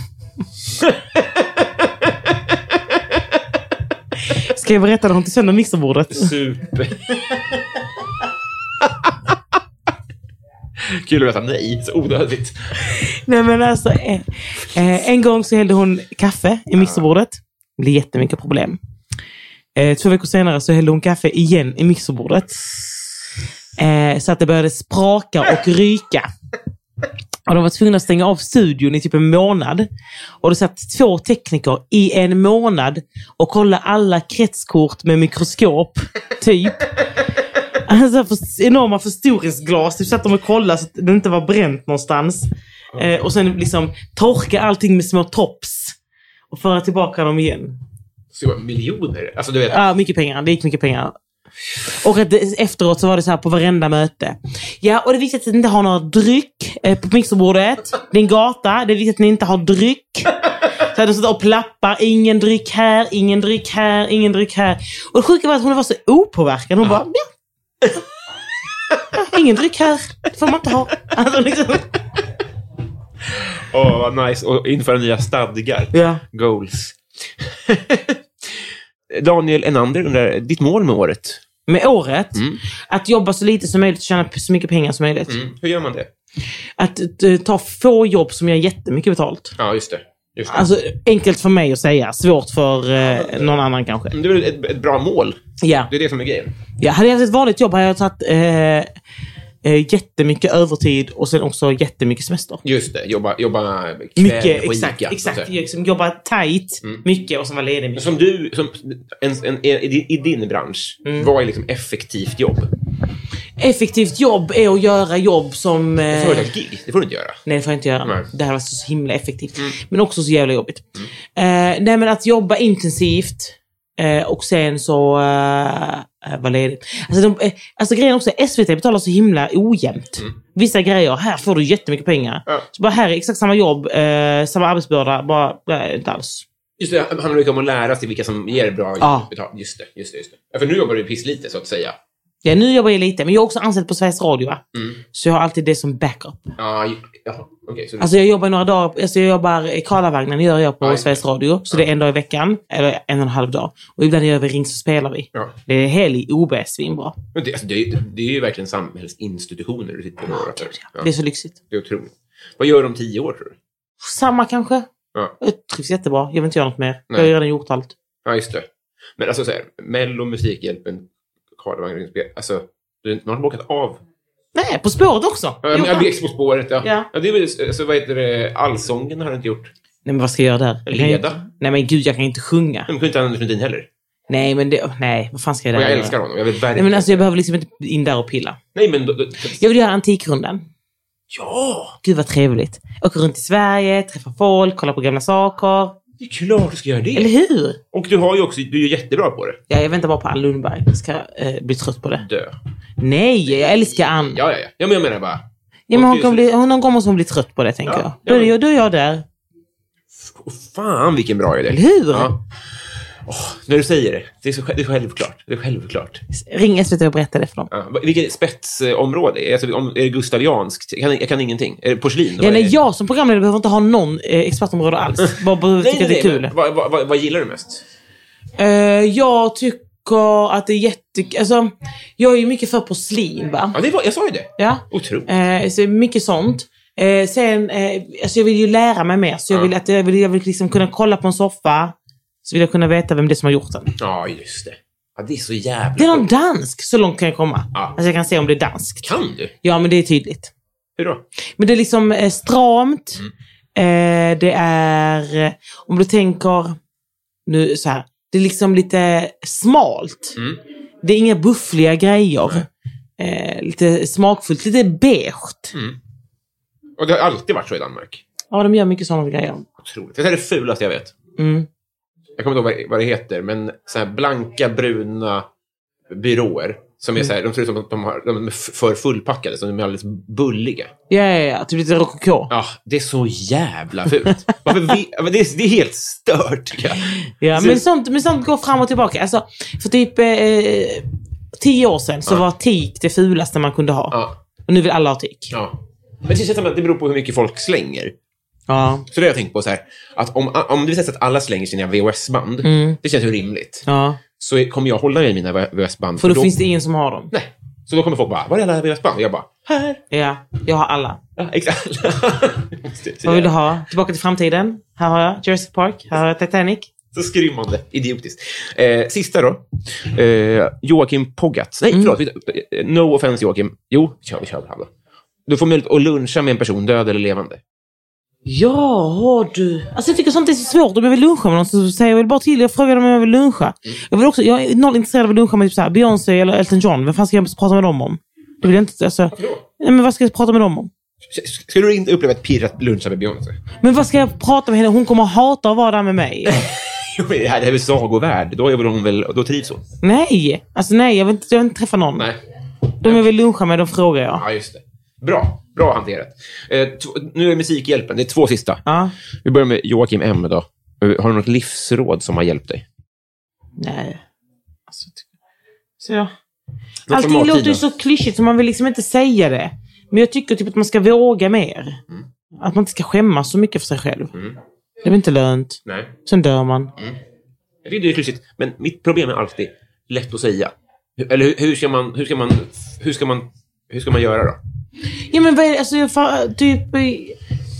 S3: Ska jag berätta när hon tog sönder mixerbordet?
S2: Super. [laughs] Kul att veta nej, så onödigt.
S3: Nej men alltså, eh, eh, en gång så hällde hon kaffe i mixerbordet. Det blev jättemycket problem. Eh, två veckor senare så hällde hon kaffe igen i mixerbordet. Eh, så att det började spraka och ryka. Och de var tvungna att stänga av studion i typ en månad. Och det satt två tekniker i en månad och kollade alla kretskort med mikroskop, typ. Alltså, för- enorma förstoringsglas. Typ satt de och kollade så att det inte var bränt någonstans. Eh, och sen liksom torka allting med små tops. Och föra tillbaka dem igen.
S2: Så miljoner. Alltså, du vet.
S3: Ja, mycket pengar. Det gick mycket pengar. Och att det, efteråt så var det så här på varenda möte. Ja, och det är viktigt att ni inte har några dryck eh, på mixerbordet. Det är en gata. Det är viktigt att ni inte har dryck. Så hade de suttit och plappar. Ingen dryck här, ingen dryck här, ingen dryck här. Och det sjuka var att hon var så opåverkad. Hon bara, [laughs] ja. Ingen dryck här. Det får man inte ha. Alltså, liksom.
S2: Åh, vad nice. Och införa nya stadgar.
S3: Ja.
S2: Goals. [laughs] Daniel Enander undrar, ditt mål med året?
S3: med året.
S2: Mm.
S3: Att jobba så lite som möjligt och tjäna så mycket pengar som möjligt.
S2: Hur gör man det?
S3: Att eh, ta få jobb som ger jättemycket betalt.
S2: Ja, just det. Just det.
S3: Alltså enkelt för mig att säga, svårt för eh, någon annan kanske.
S2: Men det är väl ett, ett bra mål?
S3: Ja.
S2: Det är det som är grejen.
S3: ja. Hade jag haft ett vanligt jobb hade jag tagit eh, eh, jättemycket övertid och sen också jättemycket semester.
S2: Just det, jobba, jobba kväll
S3: Mycket,
S2: och Ica,
S3: exakt.
S2: så att
S3: exakt
S2: säga.
S3: liksom, jobba tight,
S2: Mm.
S3: mycket och sen vara ledig
S2: Men
S3: mycket.
S2: Som du, som, en, en, i, i din bransch, vad är liksom effektivt jobb?
S3: Effektivt jobb är att göra jobb som... eh,
S2: Företagsgig, det får du inte göra.
S3: Nej, det får jag inte göra.
S2: Nej. Mm.
S3: Det här var så himla effektivt. Men också så jävla jobbigt. Eh, nej, men att jobba intensivt eh, och sen så uh, vara ledig. Alltså, de, eh, alltså grejen också, SVT betalar så himla ojämnt. Vissa grejer, här får du jättemycket pengar.
S2: Mm. Ja.
S3: Så bara här är exakt samma jobb, eh, samma arbetsbörda, bara nej, inte alls.
S2: Just det, det handlar mycket om att lära sig vilka som ger bra
S3: Ja.
S2: betalt. Just det, just det, just det. Ja, för nu jobbar du pisslite, så att säga.
S3: Ja, nu jobbar jag lite, men jag är också anställd på Sveriges Radio. Va?
S2: Mm.
S3: Så jag har alltid det som backup.
S2: Ja, ju- jaha, okej. så
S3: Alltså jag jobbar några dagar, alltså jag jobbar, Karlavagnen gör jag på
S2: Aj.
S3: Sveriges Radio. Så det är en dag i veckan, eller en och en halv dag. Och ibland gör vi ring så spelar vi.
S2: Ja.
S3: Det är helg, OB, svinbra.
S2: Men det, alltså, det, är ju- det är ju verkligen samhällsinstitutioner du sitter och rör för. Ja,
S3: Det är så lyxigt.
S2: det är otroligt. Vad gör du om tio år, tror du?
S3: Samma kanske.
S2: Ja.
S3: Jag trivs jättebra, jag vill inte göra något mer. Jag har
S2: Nej.
S3: ju redan gjort allt.
S2: Ja, just det. Men alltså, så här, Mello, Musikhjälpen, Karlavagn, Ringspel. Alltså, du- man har bockat av
S3: Nej, På spåret också!
S2: Ja, men
S3: Gjort
S2: jag blir
S3: allt.
S2: På spåret, ja.
S3: Ja.
S2: ja. det är väl, alltså, vad heter det, Allsången har du inte gjort.
S3: Nej men vad ska jag göra där? Jag kan ju-
S2: Leda.
S3: Nej men gud, jag kan ju inte sjunga.
S2: Men kunde inte Anders Lundin heller.
S3: Nej men det, nej, vad fan ska jag
S2: Och
S3: där
S2: jag
S3: göra?
S2: älskar honom. Jag vill verkligen...
S3: Nej men alltså jag behöver liksom inte in där och pilla.
S2: Nej, men då, då,
S3: Jag vill göra Antikrundan.
S2: Ja!
S3: Gud vad trevligt. Åka runt i Sverige, träffa folk, kolla på gamla saker.
S2: Det är klart du ska göra det.
S3: Eller hur?
S2: Och du har ju också, du är ju jättebra på det.
S3: Ja, jag väntar bara på Ann Lundberg. Jag ska eh, bli trött på det.
S2: Dö.
S3: Nej, jag älskar Ann. Ja,
S2: Ja, ja, ja. Ja, men jag menar bara...
S3: men hon
S2: och-
S3: kommer bli, hon, någon gång måste hon bli trött på det, tänker
S2: Ja,
S3: jag.
S2: ja,
S3: Då är,
S2: men-
S3: jag- då är jag där.
S2: Åh, fan vilken bra idé.
S3: Eller hur?
S2: Ja. Åh, När du säger det, det är, så, själv- det är självklart. Det är självklart.
S3: Ring SVT och berätta det för dem.
S2: Ja, vad- vilket spetsområde? Alltså, om, är det gustavianskt? Jag kan, jag kan ingenting. Är det porslin?
S3: Ja,
S2: Vad är
S3: nej,
S2: det?
S3: jag som programledare behöver inte ha någon eh, expertområde alls.
S2: [laughs]
S3: Bara, bara
S2: Nej, nej,
S3: tycker det är
S2: nej,
S3: kul.
S2: men Vad, vad, vad, vad gillar du mest?
S3: Eh, jag tycker att det är jätte... Alltså, jag är ju mycket för porslin, va?
S2: Ja, det var, jag sa ju det.
S3: Ja.
S2: Otroligt.
S3: Eh, så mycket sånt. Eh, sen, eh, alltså jag vill ju lära mig mer. Så jag vill, att, jag vill, jag vill liksom kunna kolla på en soffa. Så vill jag kunna veta vem det är som har gjort den.
S2: Ja, just det. Ja, det är så jävla
S3: Det är någon
S2: sjukt.
S3: dansk. Så långt kan jag komma.
S2: Ja.
S3: Alltså jag kan se om det är danskt.
S2: Kan du?
S3: Ja, men det är tydligt.
S2: Hur då?
S3: Men det är liksom eh, stramt.
S2: Mm.
S3: Eh, det är, eh, om du tänker nu så här, det är liksom lite smalt.
S2: Mm.
S3: Det är inga buffliga grejer. Eh, lite smakfullt, lite beige.
S2: Mm. Och det har alltid varit så i Danmark.
S3: Ja, de gör mycket sådana grejer.
S2: Otroligt. Det här är det fulaste jag vet.
S3: Mm.
S2: Jag kommer inte ihåg vad- vad det heter, men så här blanka, bruna byråer. Som är
S3: Mm.
S2: så här, de ser ut som att de, har, de är f- för fullpackade, så de är alldeles bulliga.
S3: Ja, ja, ja, typ lite rokoko.
S2: Ja, det är så jävla fult.
S3: [laughs]
S2: Varför vi, ja, men det, är, det är helt stört, tycker jag.
S3: Ja,
S2: Så-
S3: men, sånt, men sånt går fram och tillbaka. Alltså, för typ eh, tio år sedan så var teak det fulaste man kunde ha.
S2: Ja,
S3: Och nu vill alla ha teak.
S2: ja. Men det känns som att det beror på hur mycket folk slänger.
S3: Ja.
S2: Så det har jag tänkt på så här, att om, om det visar sig att alla slänger sina VHS-band, det känns ju rimligt,
S3: Mm. ja.
S2: så är- kommer jag hålla i mina VHS-band.
S3: För då, finns det ingen som har dem.
S2: Nej. Så då kommer folk bara, var är alla VHS-band? Och jag bara, här.
S3: Ja, jag har alla.
S2: Ja, exakt. Det är så
S3: [laughs] Vad vill du
S2: jävla-
S3: ha? Tillbaka till framtiden. Här har jag Jurassic Park. Här har jag Titanic.
S2: Så skrymmande. Idiotiskt. Eh, sista då. Eh, Joakim Poggat. Nej,
S3: Mm.
S2: förlåt. vi- eh, No offense, Joakim. Jo, vi kör, vi kör väl han då. Du får möjlighet att luncha med en person, död eller levande.
S3: Ja, har du. Alltså jag tycker sånt är så svårt. Om jag vill luncha med någon så säger jag väl bara till. Jag frågar dem om jag vill luncha. Jag, vill också, jag är noll intresserad av att luncha med typ så här, Beyoncé eller Elton John. Vad fan ska jag prata med dem om? Det vill jag inte. Alltså, nej, men vad ska jag prata med dem om?
S2: S- Skulle du inte uppleva ett pirrat luncha med Beyoncé? [laughs]
S3: Men vad ska jag prata med henne? Hon kommer hata att vara där med mig.
S2: Jo, men det här det här är väl sagovärld. Då, är väl hon väl, då trivs hon.
S3: nej! Alltså nej, jag vill inte, jag vill inte träffa någon.
S2: Nej.
S3: De jag vill luncha med, de frågar jag.
S2: Ja, just det. Bra. Bra hanterat. Eh, tv- nu är Musikhjälpen. Det är två sista.
S3: Ja.
S2: Vi börjar med Joakim M. Då. Eh, Har du något livsråd som har hjälpt dig?
S3: Nej. Alltså, ty- så jag...
S2: från
S3: Allting
S2: mattiden.
S3: låter ju så klyschigt så man vill liksom inte säga det. Men jag tycker typ att man ska våga mer. Att man inte ska skämmas så mycket för sig själv. Det är väl inte lönt.
S2: Nej.
S3: Sen dör man.
S2: Jag tycker det är klyschigt, men mitt problem är alltid lätt att säga. Hur- Eller hur, hur ska man... Hur ska man... Hur ska man... Hur ska man göra då?
S3: Ja men vad är det? Alltså, jag, fa- typ, eh,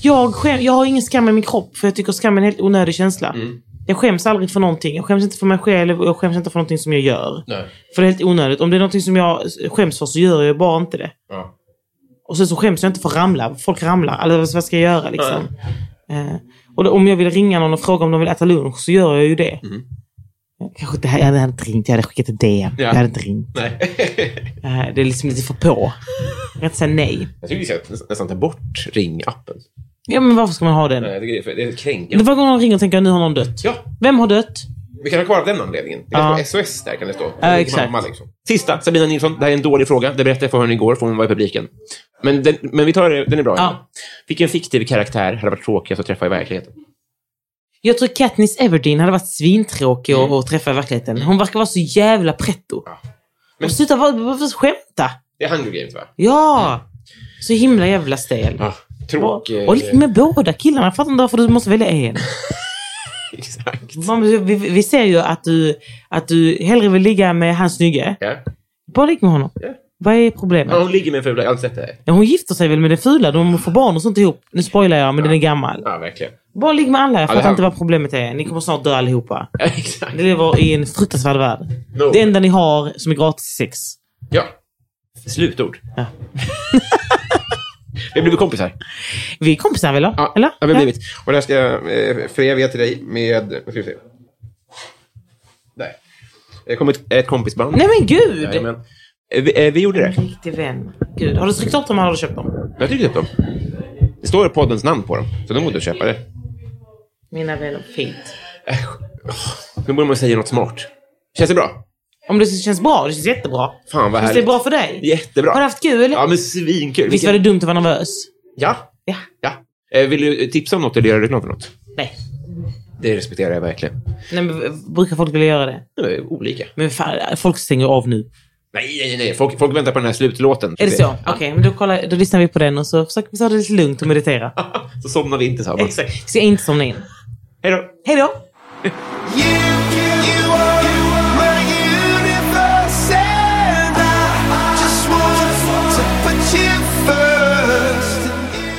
S3: jag, skäm, jag har ingen skam i min kropp för jag tycker skam är en helt onödig känsla. Jag skäms aldrig för någonting. Jag skäms inte för mig själv och jag skäms inte för någonting som jag gör.
S2: Nej.
S3: För det är helt onödigt. Om det är någonting som jag skäms för så gör jag bara inte det.
S2: Ja.
S3: Och sen så skäms jag inte för att ramla. Folk ramlar. Alltså vad ska jag göra liksom? Eh, och då, om jag vill ringa någon och fråga om de vill äta lunch så gör jag ju det.
S2: Mm.
S3: Eh, Kanske inte, jag hade inte ringt, jag hade skickat ett DM. Jag hade inte ringt.
S2: Nej.
S3: [laughs] Eh, det är liksom lite för på. Jag kan inte säga nej.
S2: Jag tycker vi ska nästan- nästan ta bort ringappen.
S3: Ja men varför ska man ha den?
S2: Nej, jag tycker det är, för- det är
S3: Det
S2: kränkande.
S3: var gång någon ringer och tänker nu har någon dött.
S2: Ja,
S3: Vem har dött?
S2: vi kan ha kvar av den anledningen. Det kan
S3: Ja.
S2: stå SOS där, kan det stå.
S3: Ja, exakt.
S2: Mamma, liksom. Sista, Sabina Nilsson. Det här är en dålig fråga. Det berättade jag för henne igår, för hon var i publiken. Men, den, men vi tar det- den är bra.
S3: Ja.
S2: ändå. Vilken fiktiv karaktär hade varit tråkigast att träffa i verkligheten?
S3: Jag tror Katniss Everdeen hade varit svintråkig
S2: Mm.
S3: att- att träffa i verkligheten. Hon verkar vara så jävla pretto. Men... Sluta var- varför skämta.
S2: Det är Hunger Games, va?
S3: Ja! Så himla jävla stel.
S2: Mm. Ja.
S3: Och,
S2: Tråkig...
S3: och ligg med båda killarna. Jag fattar inte varför du måste välja en.
S2: [laughs] Exakt.
S3: Man- Vi, vi ser ju att du, att du hellre vill ligga med hans snygge.
S2: Ja.
S3: Bara ligg med honom.
S2: Ja.
S3: Vad är problemet?
S2: Ja, hon ligger med en fula. Jag har inte sett det här.
S3: Ja, hon gifter sig väl med den fula? De får barn och sånt ihop. Nu spoilar jag, men den är gammal.
S2: Ja, verkligen.
S3: Bara ligg med alla. Jag
S2: det
S3: fattar
S2: här-
S3: inte vad problemet är. Ni kommer snart dö allihopa.
S2: [laughs] Ja, exakt.
S3: Ni lever i en fruktansvärd värld.
S2: No.
S3: Det enda ni har som är gratis är sex.
S2: Ja. Slutord. [laughs] vi har blivit kompisar.
S3: Vi är kompisar väl?
S2: Ja,
S3: Eller?
S2: ja, vi har blivit. Och det här ska jag eh, föreviga till dig med... Vad ska vi se? Där. Det kom ett, ett kompisband.
S3: Nej men gud!
S2: Jajamän. Eh, Vi, eh, vi gjorde det.
S3: Riktig vän. Gud. Har du tryckt upp dem eller har du köpt dem?
S2: Jag tyckte upp dem. Det står poddens namn på dem, så då borde du köpa det.
S3: Mina vänner, fint.
S2: Oh, Nu borde man säga något smart. Känns det bra?
S3: Om det känns bra, det känns jättebra.
S2: Fan, vad
S3: känns
S2: härligt.
S3: det bra för dig?
S2: Jättebra.
S3: Har du haft kul?
S2: Ja, men svinkul.
S3: Visst var det dumt att vara nervös?
S2: Ja.
S3: Ja.
S2: ja. Eh, Vill du tipsa om något eller göra reklam för något?
S3: Nej.
S2: Det respekterar jag verkligen.
S3: Nej, men, brukar folk vilja göra det?
S2: Det är olika.
S3: Men fan, folk stänger av nu.
S2: Nej, nej, nej. Folk, folk väntar på den här slutlåten.
S3: Är det så? Okej, men då, kollar, då lyssnar vi på den och så försöker vi ta det lite lugnt och meditera.
S2: Så somnar vi inte tillsammans.
S3: Exakt. Så jag inte somnar in.
S2: Hej då!
S3: Hej då!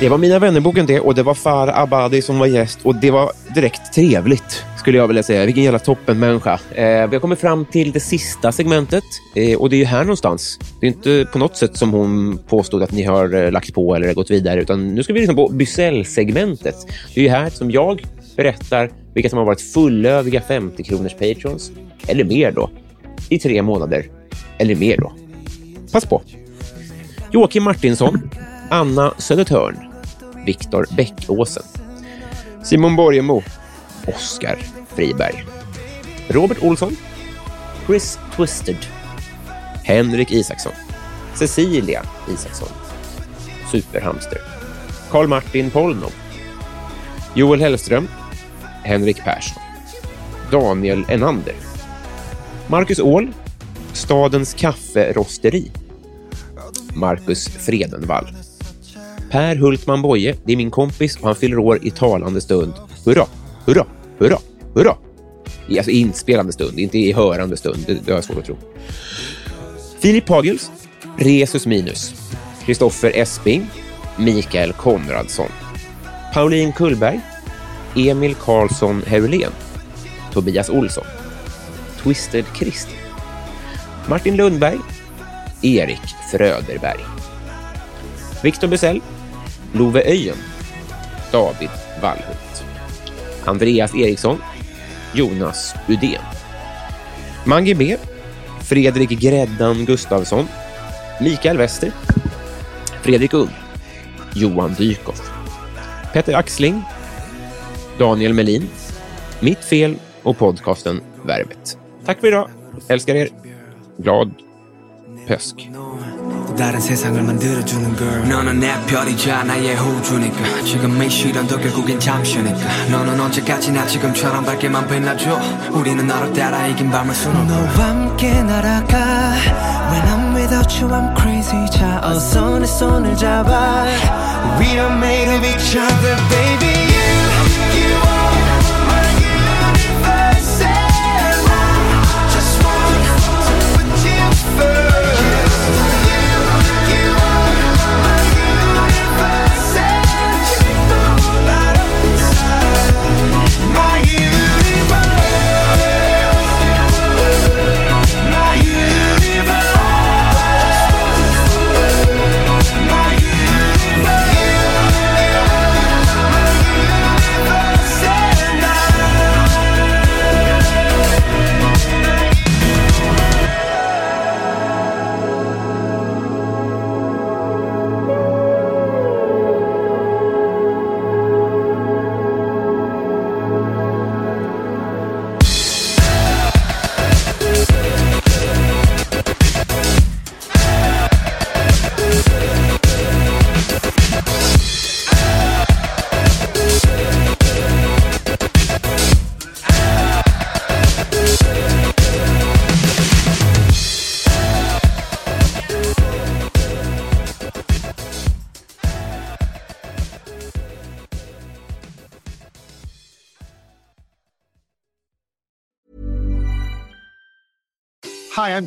S2: Det var Mina vännerboken det och det var Far Abadi som var gäst och det var direkt trevligt skulle jag vilja säga. Vilken jävla toppenmänniska. Eh, vi har kommit fram till det sista segmentet eh, och det är ju här någonstans. Det är inte på något sätt som hon påstod att ni har eh, lagt på eller gått vidare utan nu ska vi lyssna på Bysell-segmentet. Det är ju här som jag berättar vilka som har varit fullödiga 50-kronors patrons eller mer då i tre månader eller mer då. Pass på! Joakim Martinsson, Anna Södertörn, Viktor Bäckåsen, Simon Borgemo, Oskar Friberg, Robert Olsson, Chris Twisted, Henrik Isaksson, Cecilia Isaksson, Superhamster, Karl Martin Polnov, Joel Hellström, Henrik Persson, Daniel Enander, Marcus Åhl, Stadens kafferosteri, Marcus Fredenvall. Per Hultman Boye, det är min kompis och han fyller år i talande stund. Hurra, hurra, hurra, hurra! I, alltså i inspelande stund, inte i hörande stund. Det, det har jag svårt att tro. Filip Hagels, Resus Minus, Kristoffer Esping, Mikael Konradsson, Pauline Kullberg, Emil Karlsson Herulén, Tobias Olsson, Twisted Christ, Martin Lundberg, Erik Fröderberg. Viktor Busell, Love Öjen, David Wallhult, Andreas Eriksson, Jonas Udén, Mangi B, Fredrik Gräddan Gustafsson, Mikael Wester, Fredrik Ung, Johan Dykhoff, Petter Axling, Daniel Melin, Mitt Fel och podcasten Värvet. Tack för idag. Älskar er. Glad påsk.
S5: 또 다른 세상을 만들어주는 girl 너는 내 별이자 나의 호주니까 지금 이 시련도 결국엔 잠시니까 너는 언제까지나 지금처럼 밝게만 빛나줘 우리는 너를 따라 이긴 밤을 수놓고
S6: 너와 함께 날아가 When I'm without you I'm crazy 자 어서 내 손을 잡아 We are made of each other baby You, you are my universe and I just want to put you first You, you are my universe and you're the light up inside My universe my universe. My universe and I
S7: Hi, I'm